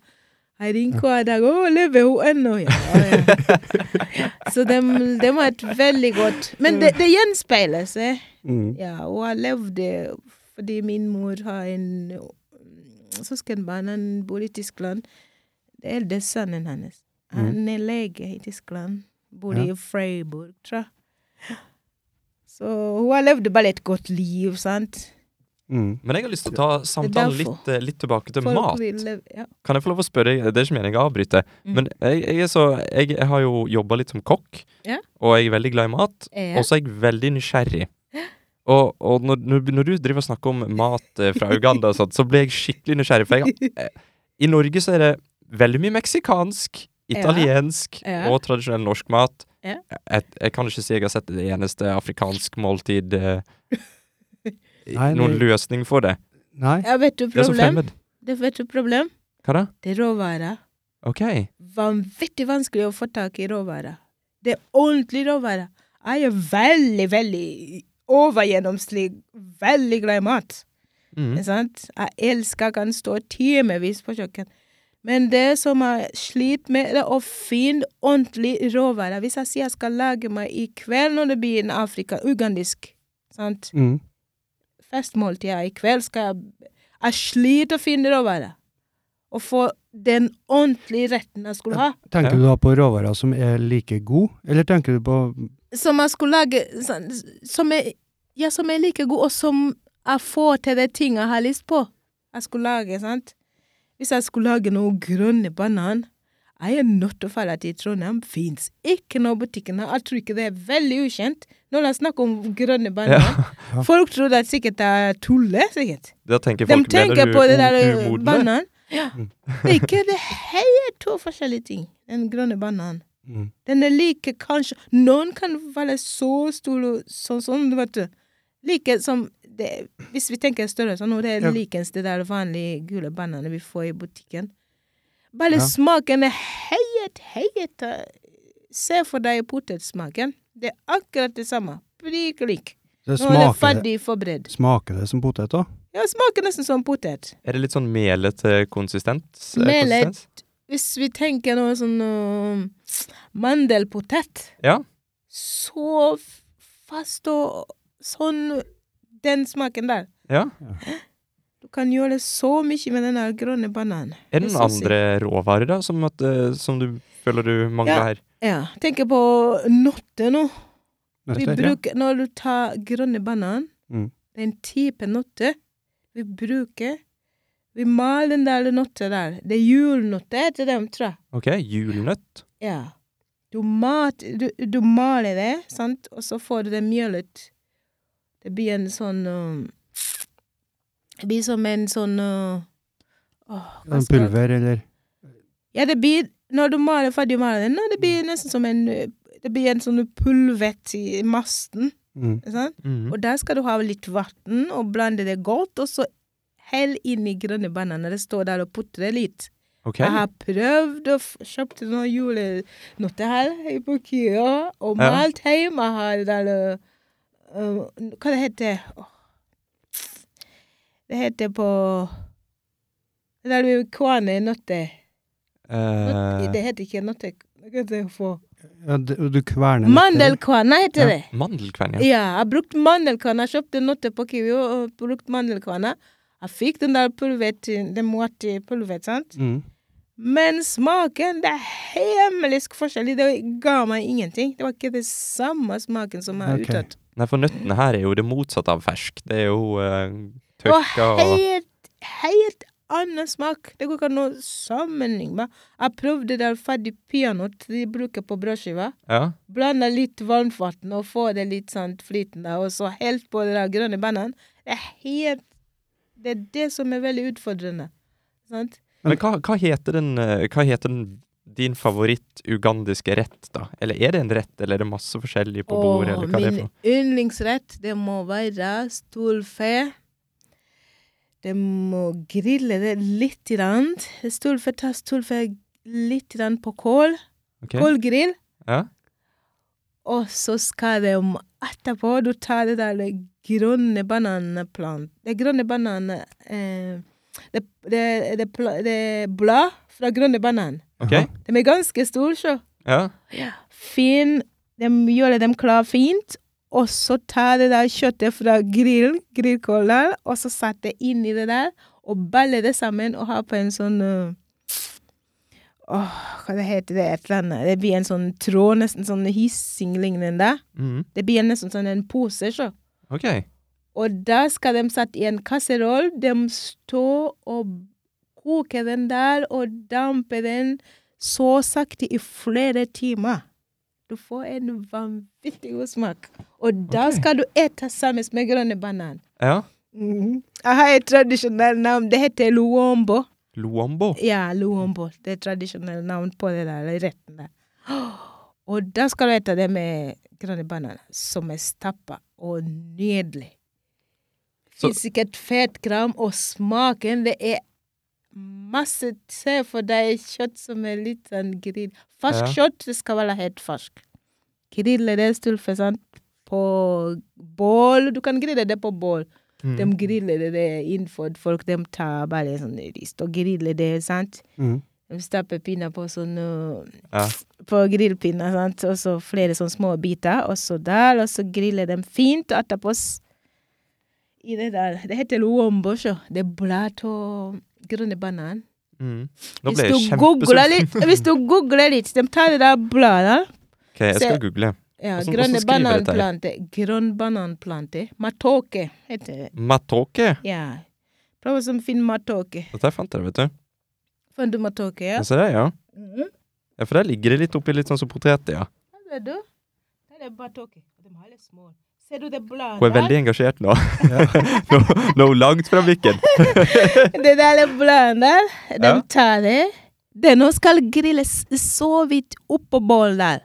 S2: Jeg ringer hver dag. 'Å, lever hun ennå?' Ja. ja. så dem, dem har et veldig godt Men det, det gjenspeiler seg.
S1: Mm.
S2: Ja, og jeg levde fordi min mor har en mm, søskenbarn, han bor i Tyskland. Det er eldste sønnen hennes.
S3: Mm.
S2: Han er lege i Tyskland. Bor
S1: Ja.
S2: i Freiburg, tror jeg. Så hun har levd bare et godt liv, sant?
S1: Mm.
S3: Men jeg har lyst til å ta samtalen
S2: derfor.
S3: litt, eh, litt tilbake til
S2: Folk
S3: mat.
S2: vil leve- ja.
S3: Kan jeg få lov å spørre, det er ikke meningen å avbryte,
S2: Mm.
S3: men jeg, jeg, er så, jeg, jeg har jo jobba litt som kokk,
S2: Ja.
S3: og jeg er veldig glad i mat,
S2: Ja.
S3: og så er jeg veldig nysgjerrig. Og, og når, når- når du driver og snakker om mat eh, fra Uganda, og sånt, så blir jeg skikkelig nysgjerrig. For jeg, eh, i Norge så er det veldig mye meksikansk, italiensk
S2: Ja.
S3: og tradisjonell norsk mat.
S2: Ja.
S3: Jeg, jeg kan ikke si jeg har sett det eneste afrikansk måltid eh,
S1: Nei,
S3: Noen
S1: det-
S3: løsning for det.
S1: Nei.
S2: ja, vet du
S3: Det er så
S2: problem?
S3: fremmed.
S2: Det vet du problem?
S3: Hva da?
S2: Det er råvarer.
S3: OK.
S2: vanvittig vanskelig å få tak i råvarer. Det er ordentlig råvarer. Jeg er veldig, veldig overgjennomsnittlig veldig glad i mat.
S3: Mm.
S2: Ikke sant? Jeg elsker kan stå timevis på kjøkken. Men det som jeg sliter med, det er å finne ordentlig råvarer. Hvis jeg sier jeg skal lage meg i kveld når det blir en Afrika, ugandisk sant?
S1: Mm.
S2: festmåltid her i kveld, skal jeg Jeg sliter å finne råvarer. Og få den ordentlige retten jeg skulle ha.
S1: Tenker
S3: Ja.
S1: du da på råvarer som er like gode, eller tenker du på
S2: som jeg skulle lage sånn- som jeg, ja, som er like god, og som jeg får til de ting jeg har lyst på. Jeg skulle lage, sant? Hvis jeg skulle lage noe grønne banan, jeg er nødt til å dra til Trondheim. Fins ikke noe butikken her. Jeg tror ikke det er veldig ukjent når jeg snakker om grønne banan.
S1: Ja.
S2: Folk tror det sikkert jeg tuller, sikkert.
S3: Da
S2: De
S3: tenker folk
S2: tenker
S3: mener du
S2: på det
S3: er
S2: der eh,
S3: umodne.
S2: banan. Ja. Det er ikke det helt to forskjellige ting. Den grønne bananen.
S1: mm.
S2: Den er like kanskje Noen kan være så stor og sånn, sånn, vet du. Like som det, Hvis vi tenker størrelse nå, det er
S1: Ja.
S2: likens det der vanlige gule banene vi får i butikken. Bare
S1: Ja.
S2: smaken er helt, helt eh, Se for deg potetsmaken. Det er akkurat det samme. Prikk lik. Nå
S1: det
S2: er det
S1: smaker,
S2: ferdig
S1: det,
S2: forberedt.
S1: smaker det som potet, da?
S2: Ja, smaker nesten som potet.
S3: Er det litt sånn melete konsistens? eh,
S2: Melet.
S3: konsistens?
S2: Hvis vi tenker noe sånn eh, mandelpotet
S3: Ja.
S2: så f- fast og sånn Den smaken der.
S3: ja.
S2: Du kan gjøre så mye med den der grønne bananen.
S3: Er det
S2: Det er
S3: noen
S2: så
S3: andre råvarer da, som, at, eh, som du føler du mangler
S2: Ja.
S3: her?
S2: Ja. Tenker på nøtter nå. Vi
S1: Nøtter?
S2: bruker, når du tar grønne banan,
S1: Mm.
S2: det er en type nøtter vi bruker Vi maler den der nøtta der. Det er julnøtter heter dem, tror jeg.
S3: Ok, julnøtt.
S2: Ja. Du, mat, du, du maler det, sant, og så får du det mjølet. Det blir en sånn um, Det blir som en sånn uh, åh, hva
S1: En
S2: skal-
S1: Pulver, eller
S2: Ja, det blir Når du maler ferdig malen, det
S1: Mm.
S2: blir nesten som en uh, Det blir en sånn pulvet i masten.
S1: mm.
S2: ikke sant? Og der skal du ha litt vann og blande det godt, og så hell inn i grønne bananer. Det står der og putrer litt.
S3: Ok,
S2: Jeg har prøvd å f- kjøpt noen julenøtter her i Bukio, og
S3: Ja.
S2: malt hjemme. Jeg har det der uh, Hva det heter Åh. Det heter på Det der med kåne nøtter. Nøtt-
S3: Eh,
S2: Det heter ikke nøtter. Hva heter det for?
S1: ja, d- Du kverner nøtter.
S2: Mandelkåne heter det.
S3: Mandelkvenn, ja.
S2: Ja, jeg har brukt mandelkåne. Jeg kjøpte nøtter på Kiwi og brukt mandelkåne. Jeg fikk den der pulveret, den måte pulveret, sant?
S1: Mm.
S2: Men smaken, det er himmelsk forskjellig. Det ga meg ingenting. Det var ikke det samme smaken som jeg
S1: Ok.
S2: utad.
S3: Nei, for nøttene her er jo det motsatte av fersk. Det er jo uh,
S2: Det var
S3: tørka og
S2: helt, helt annen smak. Det går ikke an å sammenligne med. Jeg prøvde det ferdig peanøtt de bruker på brødskiva.
S3: ja.
S2: Blanda litt varmt vann og få det litt sånn flytende, og så helt på det der grønne bananen. Det er helt Det er det som er veldig utfordrende. Sant?
S3: Men hva, hva heter den, eh, hva heter den din favoritt ugandiske rett, da? Eller er det en rett, eller er det masse forskjellig på bordet, eller hva er det
S2: min
S3: for noe?
S2: yndlingsrett, det må være storfe De må grille det litt. Grann. Stolfe, ta stolfe litt grann på kål.
S3: Ok?
S2: Kålgrill.
S3: Ja.
S2: Og så skal de etterpå Du tar det der det grønne bananplant... Det grønne banan... Eh, det, det, det, pla- det blad fra grønne banan.
S3: Ok?
S1: Aha.
S2: De er ganske store, så.
S3: Ja.
S2: Fin, de gjør dem klar fint, og så tar det der kjøttet fra grillen, grillkålen, og så setter det inn i det der, og baller det sammen og har på en sånn øh, Åh, hva det heter det? Et eller annet. Det blir en sånn tråd, nesten sånn hissing-lignende.
S3: Mhm.
S2: Det blir nesten sånn en pose, så.
S3: Ok.
S2: Og da skal de sette i en kasseroll. De står og koker den der og damper den så sakte i flere timer. Du får en vanvittig god smak. Og da
S3: Ok.
S2: skal du ete sammen med grønne banan.
S3: Ja.
S2: Jeg har et tradisjonelt navn. Det heter luombo.
S3: Luombo.
S2: Ja, luombo. Det er et tradisjonelt navn på det der retten der. Og da skal du ete det med grønne bananer, som er stappa og nydelig.
S3: Så-
S2: Finnes ikke et fett kram, og smaken, det er masse Se for deg kjøtt som er litt sånn grill. Fersk
S3: Ja.
S2: kjøtt, det skal være helt fersk. Grille det stulfe, sant, på bål. Du kan grille det på bål.
S3: Mhm.
S2: De griller det, det innenfor folk. De tar bare sånn rist og griller det, sant.
S1: Mm.
S2: De stapper pinner på sånn øh,
S3: Ja.
S2: På grillpinner, sant. Og så flere sånne små biter, og så der. Og så griller de fint etterpå. s- I det der. Det heter luombo, sjå. Det er blad og grønne banan.
S3: Mhm. Nå ble jeg
S2: Hvis du googler
S3: kjempesulten.
S2: litt, hvis du googler litt De tar det der bladet.
S3: Ok, jeg skal
S2: Se-
S3: google.
S2: Ja,
S3: Hvordan- hvordan
S2: grønne
S3: skriver jeg dette her?
S2: bananplante. Grønn bananplante. Matoke heter det.
S3: Matoke.
S2: Ja. Prøv å sånn finne matoke.
S3: Dette her fant jeg, vet du.
S2: Fant du matoke, ja?
S3: Jeg ser det, ja.
S2: Mhm.
S3: Ja, for der ligger det litt oppi litt sånn som poteter, ja.
S2: Hva er det da? Det er matoke. De er litt små. Ser du det bladet?
S3: Hun er veldig engasjert nå. nå, nå er hun langt fra mikken.
S2: Det der er bladet der. De
S3: Ja.
S2: tar det. Det nå skal grilles så vidt oppå bålet der.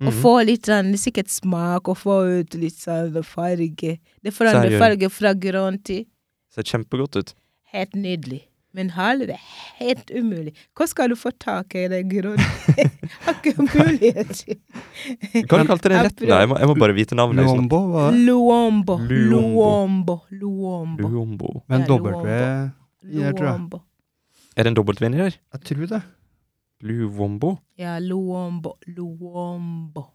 S2: Og
S3: Mhm.
S2: få litt sånn, sikkert smak, og få ut litt sånn farge. Det forandrer
S3: Seriøst?
S2: farge fra grønn til
S3: Ser kjempegodt ut.
S2: Helt nydelig. Men hale, det er helt umulig. Hvor skal du få tak i det grønne? Har ikke mulighet.
S3: Hva kalte du den
S2: Jeg
S3: retten? da? Jeg må, jeg må bare vite navnet. liksom.
S1: Lombo var
S2: Mm.
S1: det.
S2: Luombo.
S3: Luombo.
S2: Luombo. Luombo.
S3: Luombo.
S1: Men
S2: Ja,
S1: W
S2: Luombo.
S1: jeg tror det.
S2: Luombo.
S3: Er det en dobbeltvinner her?
S1: Jeg tror det.
S3: Luombo?
S2: Ja, luombo. Luombo.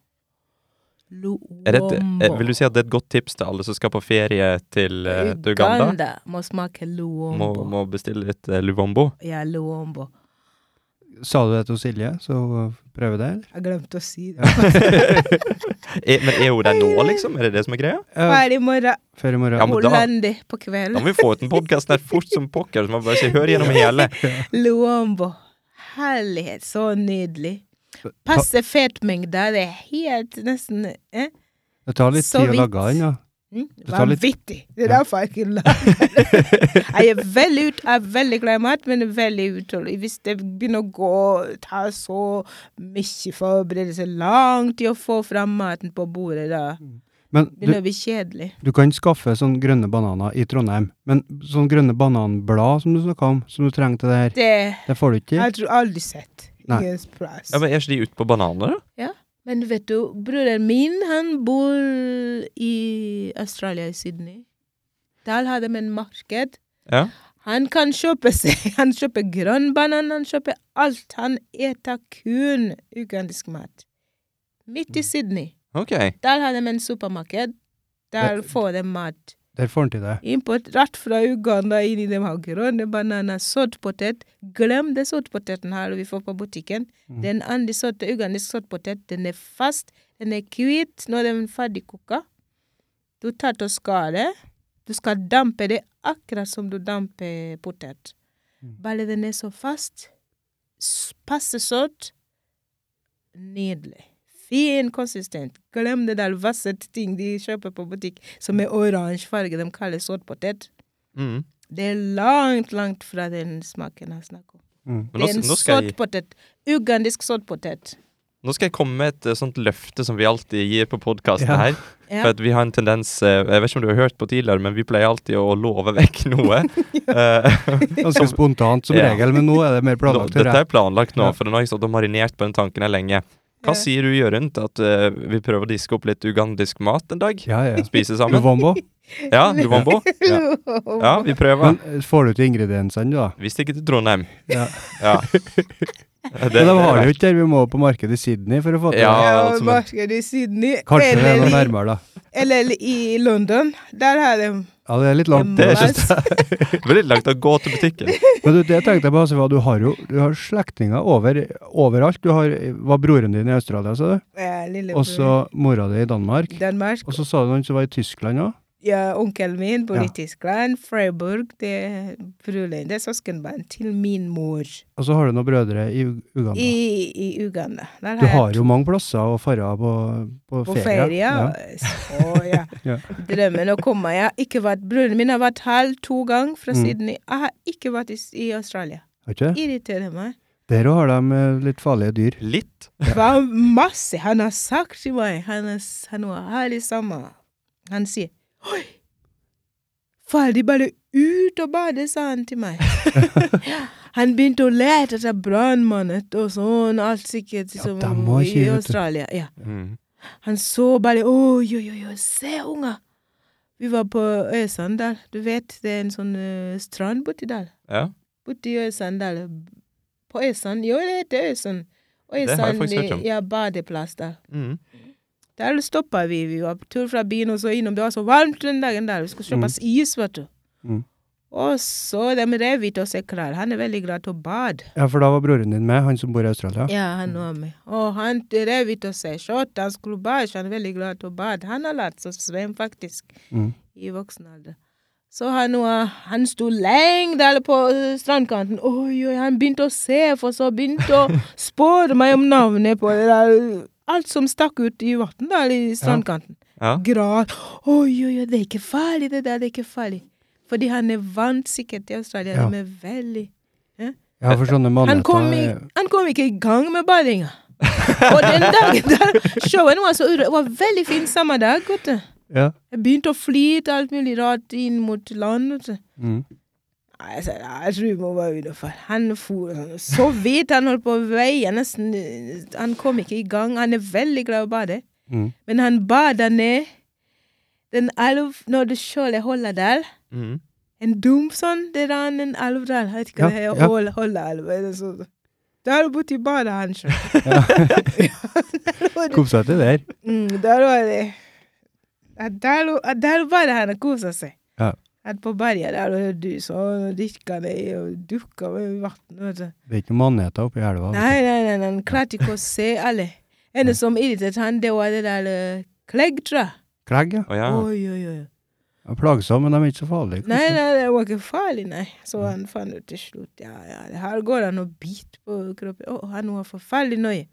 S2: Luombo.
S3: Er det et, eh, vil du si at det er et godt tips til alle som skal på ferie til, eh, til Uganda?
S2: må smake
S3: Må,
S2: luombo.
S3: må bestille litt eh, luombo.
S2: Ja, luombo.
S1: Sa du det til Silje, så hun prøver det? eller?
S2: Jeg glemte å si det.
S3: Er, Eh, men er hun der nå, liksom? Er det det som er greia?
S1: Ja,
S2: Ferdig i morgen.
S1: før i morgen.
S3: Ja, men- da-
S2: Hollande på
S3: Da
S2: kvelden.
S3: må vi få ut den podkasten her fort som pokker, så man bare sier hør gjennom hele.
S2: Luombo. Herlighet, så nydelig. Passe fet mengde. Det er helt nesten eh?
S1: Det tar litt
S2: Så
S1: tid å
S2: vidt.
S1: lage den, ja.
S2: mm,
S1: tar litt-
S2: Vanvittig! Det er derfor jeg ikke lager det. Jeg er veldig ut, jeg er veldig glad i mat, men veldig utålmodig. Hvis det begynner å gå, ta så mye forberedelse, lang tid å få fram maten på bordet, da
S1: Men du,
S2: begynner det å bli kjedelig.
S1: du kan skaffe sånne grønne bananer i Trondheim. Men sånne grønne bananblad som du snakka om, som du trenger til det her,
S2: Det
S1: det får du ikke i.
S2: har jeg aldri sett.
S1: Nei.
S2: Ingen plass.
S3: Ja, men Er ikke de ute på bananer, da?
S2: Men vet du, broren min han bor i Australia, i Sydney. Der har de en marked.
S3: Ja.
S2: Han kan kjøpe seg Han kjøper grønn banan, han kjøper alt. Han eter kun ugandisk mat. Midt i Sydney.
S3: Ok.
S2: Der har de en supermarked. Der
S1: Det-
S2: får de mat.
S1: Der får han til det.
S2: Import rett fra Uganda inn i dem har grønne bananer, søtpotet. Glem det søtpoteten her vi får på butikken.
S1: Mm.
S2: Den andre sorte ugandisk søtpotet, den er fast, den er hvit når den er ferdigkoka. Du tar til å skare. Du skal dampe det akkurat som du damper potet.
S1: Mm.
S2: Bare den er så fast. s- Passe søt. Nydelig. Fin konsistent. Glem det der vasset ting de kjøper på butikk som er oransje farge. De kaller såtpotet.
S3: Mm.
S2: Det er langt, langt fra den smaken jeg snakker om.
S1: Mm.
S3: Men
S2: det
S3: nå,
S2: er en
S3: nå skal jeg
S2: såtpotet. Ugandisk såtpotet.
S3: Nå skal jeg komme med et eh, sånt løfte som vi alltid gir på podkasten
S1: Ja.
S3: her.
S2: Ja.
S3: For at vi har en tendens eh, Jeg vet ikke om du har hørt på tidligere, men vi pleier alltid å love vekk noe. Eh,
S1: Ganske spontant som
S3: Ja.
S1: regel, men nå er det mer
S3: nå,
S1: planlagt.
S3: dette
S1: hører jeg.
S3: er planlagt nå,
S1: Ja.
S3: for nå har jeg stått og marinert på den tanken her lenge.
S2: Ja.
S3: Hva sier du, Jørund, til at eh, vi prøver å diske opp litt ugandisk mat en dag?
S1: Ja, ja.
S3: Spise sammen?
S1: Luvombo.
S3: Ja, Luvombo? Ja. ja, vi prøver.
S1: Men eh, får du til ingrediensene, da?
S3: Vi stikker til Trondheim.
S1: Ja.
S3: Ja.
S1: Men de har det jo ikke der. Vi må på markedet i Sydney for å få til
S3: Ja,
S1: det.
S2: Ja,
S3: altså, men-
S2: markedet i Sydney.
S1: Kanskje det er
S2: Eller,
S1: noe
S2: i-
S1: nærmere, da.
S2: eller E i London. Der har de
S1: Ja, det er litt langt.
S3: Det er
S1: Men
S3: ikke Det blir litt langt å gå til butikken.
S1: du, det tenkte jeg på, Hasse, var du har jo du har slektninger over, overalt. Du har, var broren din i Australia, sa du,
S2: ja, lillebror.
S1: og så mora di i Danmark.
S2: Danmark.
S1: Og så sa du noen som var i Tyskland òg.
S2: Ja, onkelen min bor
S1: Ja.
S2: i Tyskland. Freiburg. Det er broren. Det er søskenbarn til min mor.
S1: Og så har du noen brødre i U- Uganda.
S2: I, i Uganda. Der
S1: Du har
S2: jeg
S1: jo mange plasser å fare på, på,
S2: på
S1: ferie.
S2: ferie.
S1: Ja.
S2: Så, ja.
S1: Ja.
S2: Drømmen å komme. Jeg har ikke vært Broren min har vært halv to ganger fra
S1: Mm.
S2: Sydney. Jeg har ikke vært i, s- i Australia.
S1: Har ikke det?
S2: Irriterer meg.
S1: Der òg har de eh, litt farlige dyr.
S3: Litt.
S2: Det var masse han har sagt til meg. Han, har s- han var her i sommer. Han sier Oi! Far, de bare ut og bade, sa han til meg. Ja, han begynte å lete etter brannmannen og sånn, alt sikkert
S1: Ja,
S2: som
S1: dem må ikke,
S2: i
S1: vet du.
S2: Australia. Ja.
S3: Mm.
S2: Han så bare Oi, oi, oi, oi, se, unger! Vi var på Øysandal. Du vet, det er en sånn eh, strand borti der.
S3: Ja.
S2: Borti Øysandal. På Øysand. Jo, det heter Øysand.
S3: Det har jeg
S2: Øysand
S3: faktisk hørt om.
S2: eh, ja, badeplass der.
S3: Mm.
S2: Der stoppa vi. Vi var på tur fra byen og så innom. Det var så varmt den dagen der. Vi skulle kjøpe oss is, vet du.
S1: Mm.
S2: Og så de rev ut oss en kral. Han er veldig glad til å bade.
S1: Ja, for da var broren din med, han som bor i Australia.
S2: Ja,
S3: Mm.
S2: han var med. Og han rev ut oss en skjorte. Han skulle bade. Han er veldig glad til å bade. Han har lært seg å svømme, faktisk,
S1: Mm.
S2: i voksen alder. Så han, var- han sto lenge der på eh, strandkanten. Oi, oi, han begynte å se, for så begynte å spørre meg om navnet på det der. øh, Alt som stakk ut i vannet der i strandkanten.
S3: Ja.
S2: gråt. Oi, oi, oi, det er ikke farlig, det der, det er ikke farlig. Fordi han er vant sikkert til Australia.
S1: Ja.
S2: De er veldig
S1: Ja, for sånne
S2: han kom,
S1: maneter
S2: i,
S1: er- øh,
S2: han kom ikke i gang med badinga. Og den dagen der Showen var så uro. Det var veldig fin samme dag, vet du.
S1: Ja.
S2: Jeg begynte å flyte alt mulig rart inn mot land. vet du.
S1: Mm.
S2: Nei, Jeg sa "Nei, jeg tror vi må bare utenfor. Han for sånn. Så vidt han holdt på å veie. Nesten eh, Han kom ikke i gang. Han er veldig glad i å bade.
S1: Mm.
S2: Men han bader ned den elv Når du kjører Holladal
S3: Mm.
S2: En dump sånn, det rann en elv der. Jeg vet ikke hva det
S1: Ja,
S2: er.
S1: ja.
S2: Hol, Holladalv, eller sånn. Der borti badet han sjøl.
S1: Kom seg til der.
S2: Mm, der var det at Der, at der badet han og kosa seg.
S1: Ja.
S2: At på badet der og du sånn og dykka ned og dukka med vann, vet du.
S1: Det er ikke noen maneter oppe i elva. vet
S2: Nei, nei, nei, nei, han klarte ikke å se alle. En som irriterte han, det var det der eh, Clegg, tror jeg.
S1: du. Klegg, ja.
S3: Å ja.
S2: Oi, oi, oi.
S1: Ja, Plagsomme, men de er ikke så farlige.
S2: Nei,
S1: kanskje.
S2: nei, det var ikke farlig, nei. Så han fant ut til slutt. Ja, ja, det her går an å bite på kroppen. Å, han var forferdelig nøye.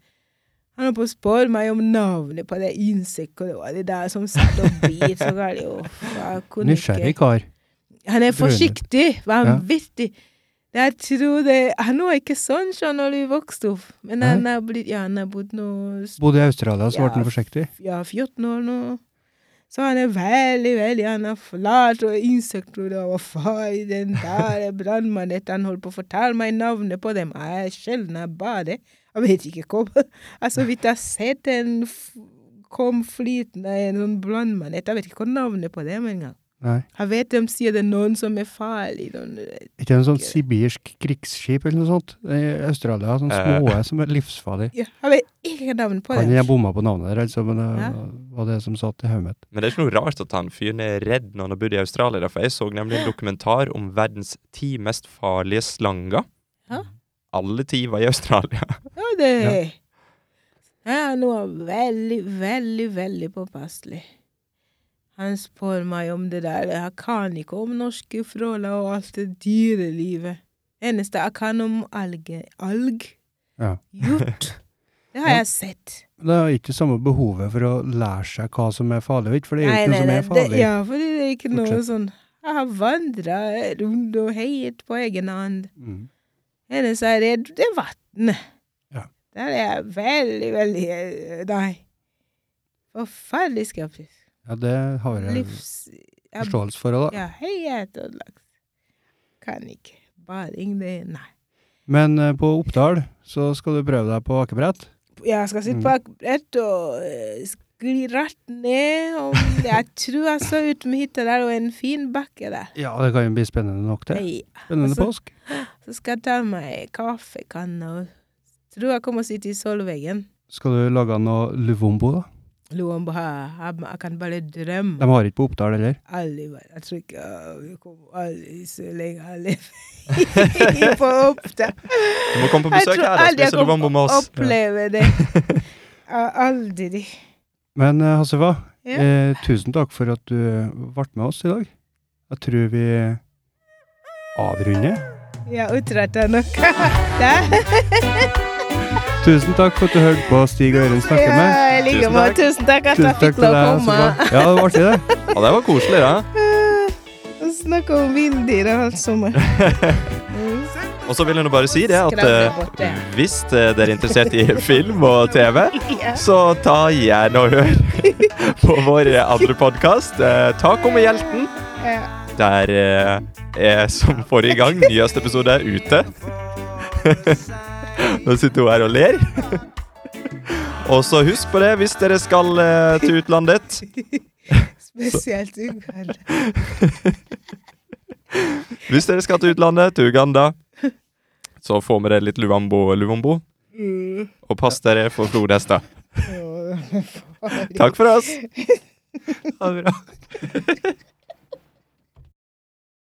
S2: Han holdt på å spørre meg om navnet på det insektet, og det var det der som satt og bit så galt. Å, faen, jeg kunne
S1: Nysgjerrig kar.
S2: Han er forsiktig, vanvittig. Jeg tror det Han var ikke sånn sånn når vi vokste opp, men han har blitt Ja, han har bodd nå
S1: Bodde i Australia, så
S2: Ja.
S1: ble han forsiktig.
S2: ja, 14 år nå. Så han er veldig, veldig han er flat og insekter og det var far i den der brannmannen Han holdt på å fortelle meg navnet på dem. Jeg er sjelden jeg bader. Jeg vet ikke hva Jeg så vidt jeg har sett en f- kom flytende en sånn brannmann. Jeg vet ikke hva navnet på dem engang.
S1: Nei.
S2: Jeg vet de sier det er noen som er farlig. Noen,
S1: Ikke en sånn sibirsk krigsskip eller noe sånt i Australia? Sånn
S3: Eh.
S1: små som er livsfarlig.
S2: ja, jeg vet ikke navnet på
S1: Kan
S2: dem.
S1: jeg bomma på navnet der, altså, men det
S2: Ja.
S1: var det som satt i hodet mitt.
S3: Men det er ikke noe rart at han fyren er redd når han har bodd i Australia. da, For jeg så nemlig en dokumentar om verdens ti mest farlige slanger.
S2: Ja.
S3: Alle ti var i Australia.
S2: Ja, det Ja, han var veldig, veldig, veldig påpasselig. Han spør meg om det der. Jeg kan ikke om norske fråler og alt det dyrelivet. Eneste jeg kan om alge, alg.
S1: Ja.
S2: Hjort. Det har jeg sett.
S1: Det er ikke samme behovet for å lære seg hva som er farlig, vet du, for det er
S2: Nei,
S1: jo ikke
S2: nei, nei,
S1: noe som er farlig.
S2: Det, ja, for det er ikke noe
S1: Fortsett.
S2: sånn Jeg har vandra rundt og heiet på egen hånd.
S1: Mm.
S2: Eneste jeg er redd, det er vannet.
S1: Ja.
S2: Der er jeg veldig, veldig eh, Nei. Forferdelig skeptisk.
S1: Ja, det har jeg
S2: Livs... Jeg-
S1: forståelse for òg, da.
S2: Ja, helt ødelagt. Kan ikke. Bading, det Nei.
S1: Men eh, på Oppdal så skal du prøve deg på akebrett.
S2: Jeg skal sitte
S1: Mm.
S2: på akkurat og eh, skli rett ned. Og jeg tror jeg så ut med hytta der og en fin bakke der.
S1: Ja, det kan jo bli spennende nok, det.
S2: Nei,
S1: Spennende
S2: altså-
S1: påsk.
S2: Så skal jeg ta meg kaffekanne og tror jeg kommer å sitte i solveggen.
S1: Skal du lage noe luvombo, da?
S2: Loen bare, jeg, jeg kan bare drømme.
S1: De har ikke på Oppdal heller.
S2: Aldri, vært- jeg tror ikke øh, vi kommer aldri så lenge jeg lever på Oppdal.
S3: Du må komme på
S2: Jeg
S3: besøk
S2: tror
S3: her og
S2: aldri jeg
S3: spise lubombo
S2: kommer
S3: med
S2: å
S3: oss.
S2: oppleve det. Ja, Aldri.
S1: Men eh, Hasseva,
S2: Ja.
S1: eh, tusen takk for at du eh, ble med oss i dag. Jeg tror vi avrunder.
S2: Jeg er utrettet nok. Der.
S1: Tusen takk for at du hørte på Stig og Øyvind snakke
S2: Ja,
S1: med.
S2: i like
S3: Tusen
S2: måte.
S3: takk.
S2: Tusen takk at
S1: Tusen
S2: jeg
S1: takk
S2: fikk
S1: til
S2: lov å
S1: deg.
S2: komme.
S1: Hasseva. Ja, det var artig, det.
S3: Ja, det var koselig, da.
S2: Og snakke om villdyr og alt sammen. Mm.
S3: Og så vil jeg nå bare si det at
S2: Skravle
S3: eh,
S2: bort det.
S3: hvis eh, dere er interessert i film og TV, så ta gjerne og hør på vår eh, andre podkast, eh, 'Tak om hjelten'.
S2: Ja.
S3: Der eh, er, som forrige gang, nyeste episode er ute. Nå sitter hun her og ler. Og så husk på det hvis dere skal eh, til utlandet.
S2: Spesielt Uganda.
S3: Hvis dere skal til utlandet, til Uganda, så få med dere litt luambo, luambo.
S2: Mm.
S3: Og pass dere for flodhester.
S2: Ja, det er farlig.
S3: Takk for oss. Ha det bra.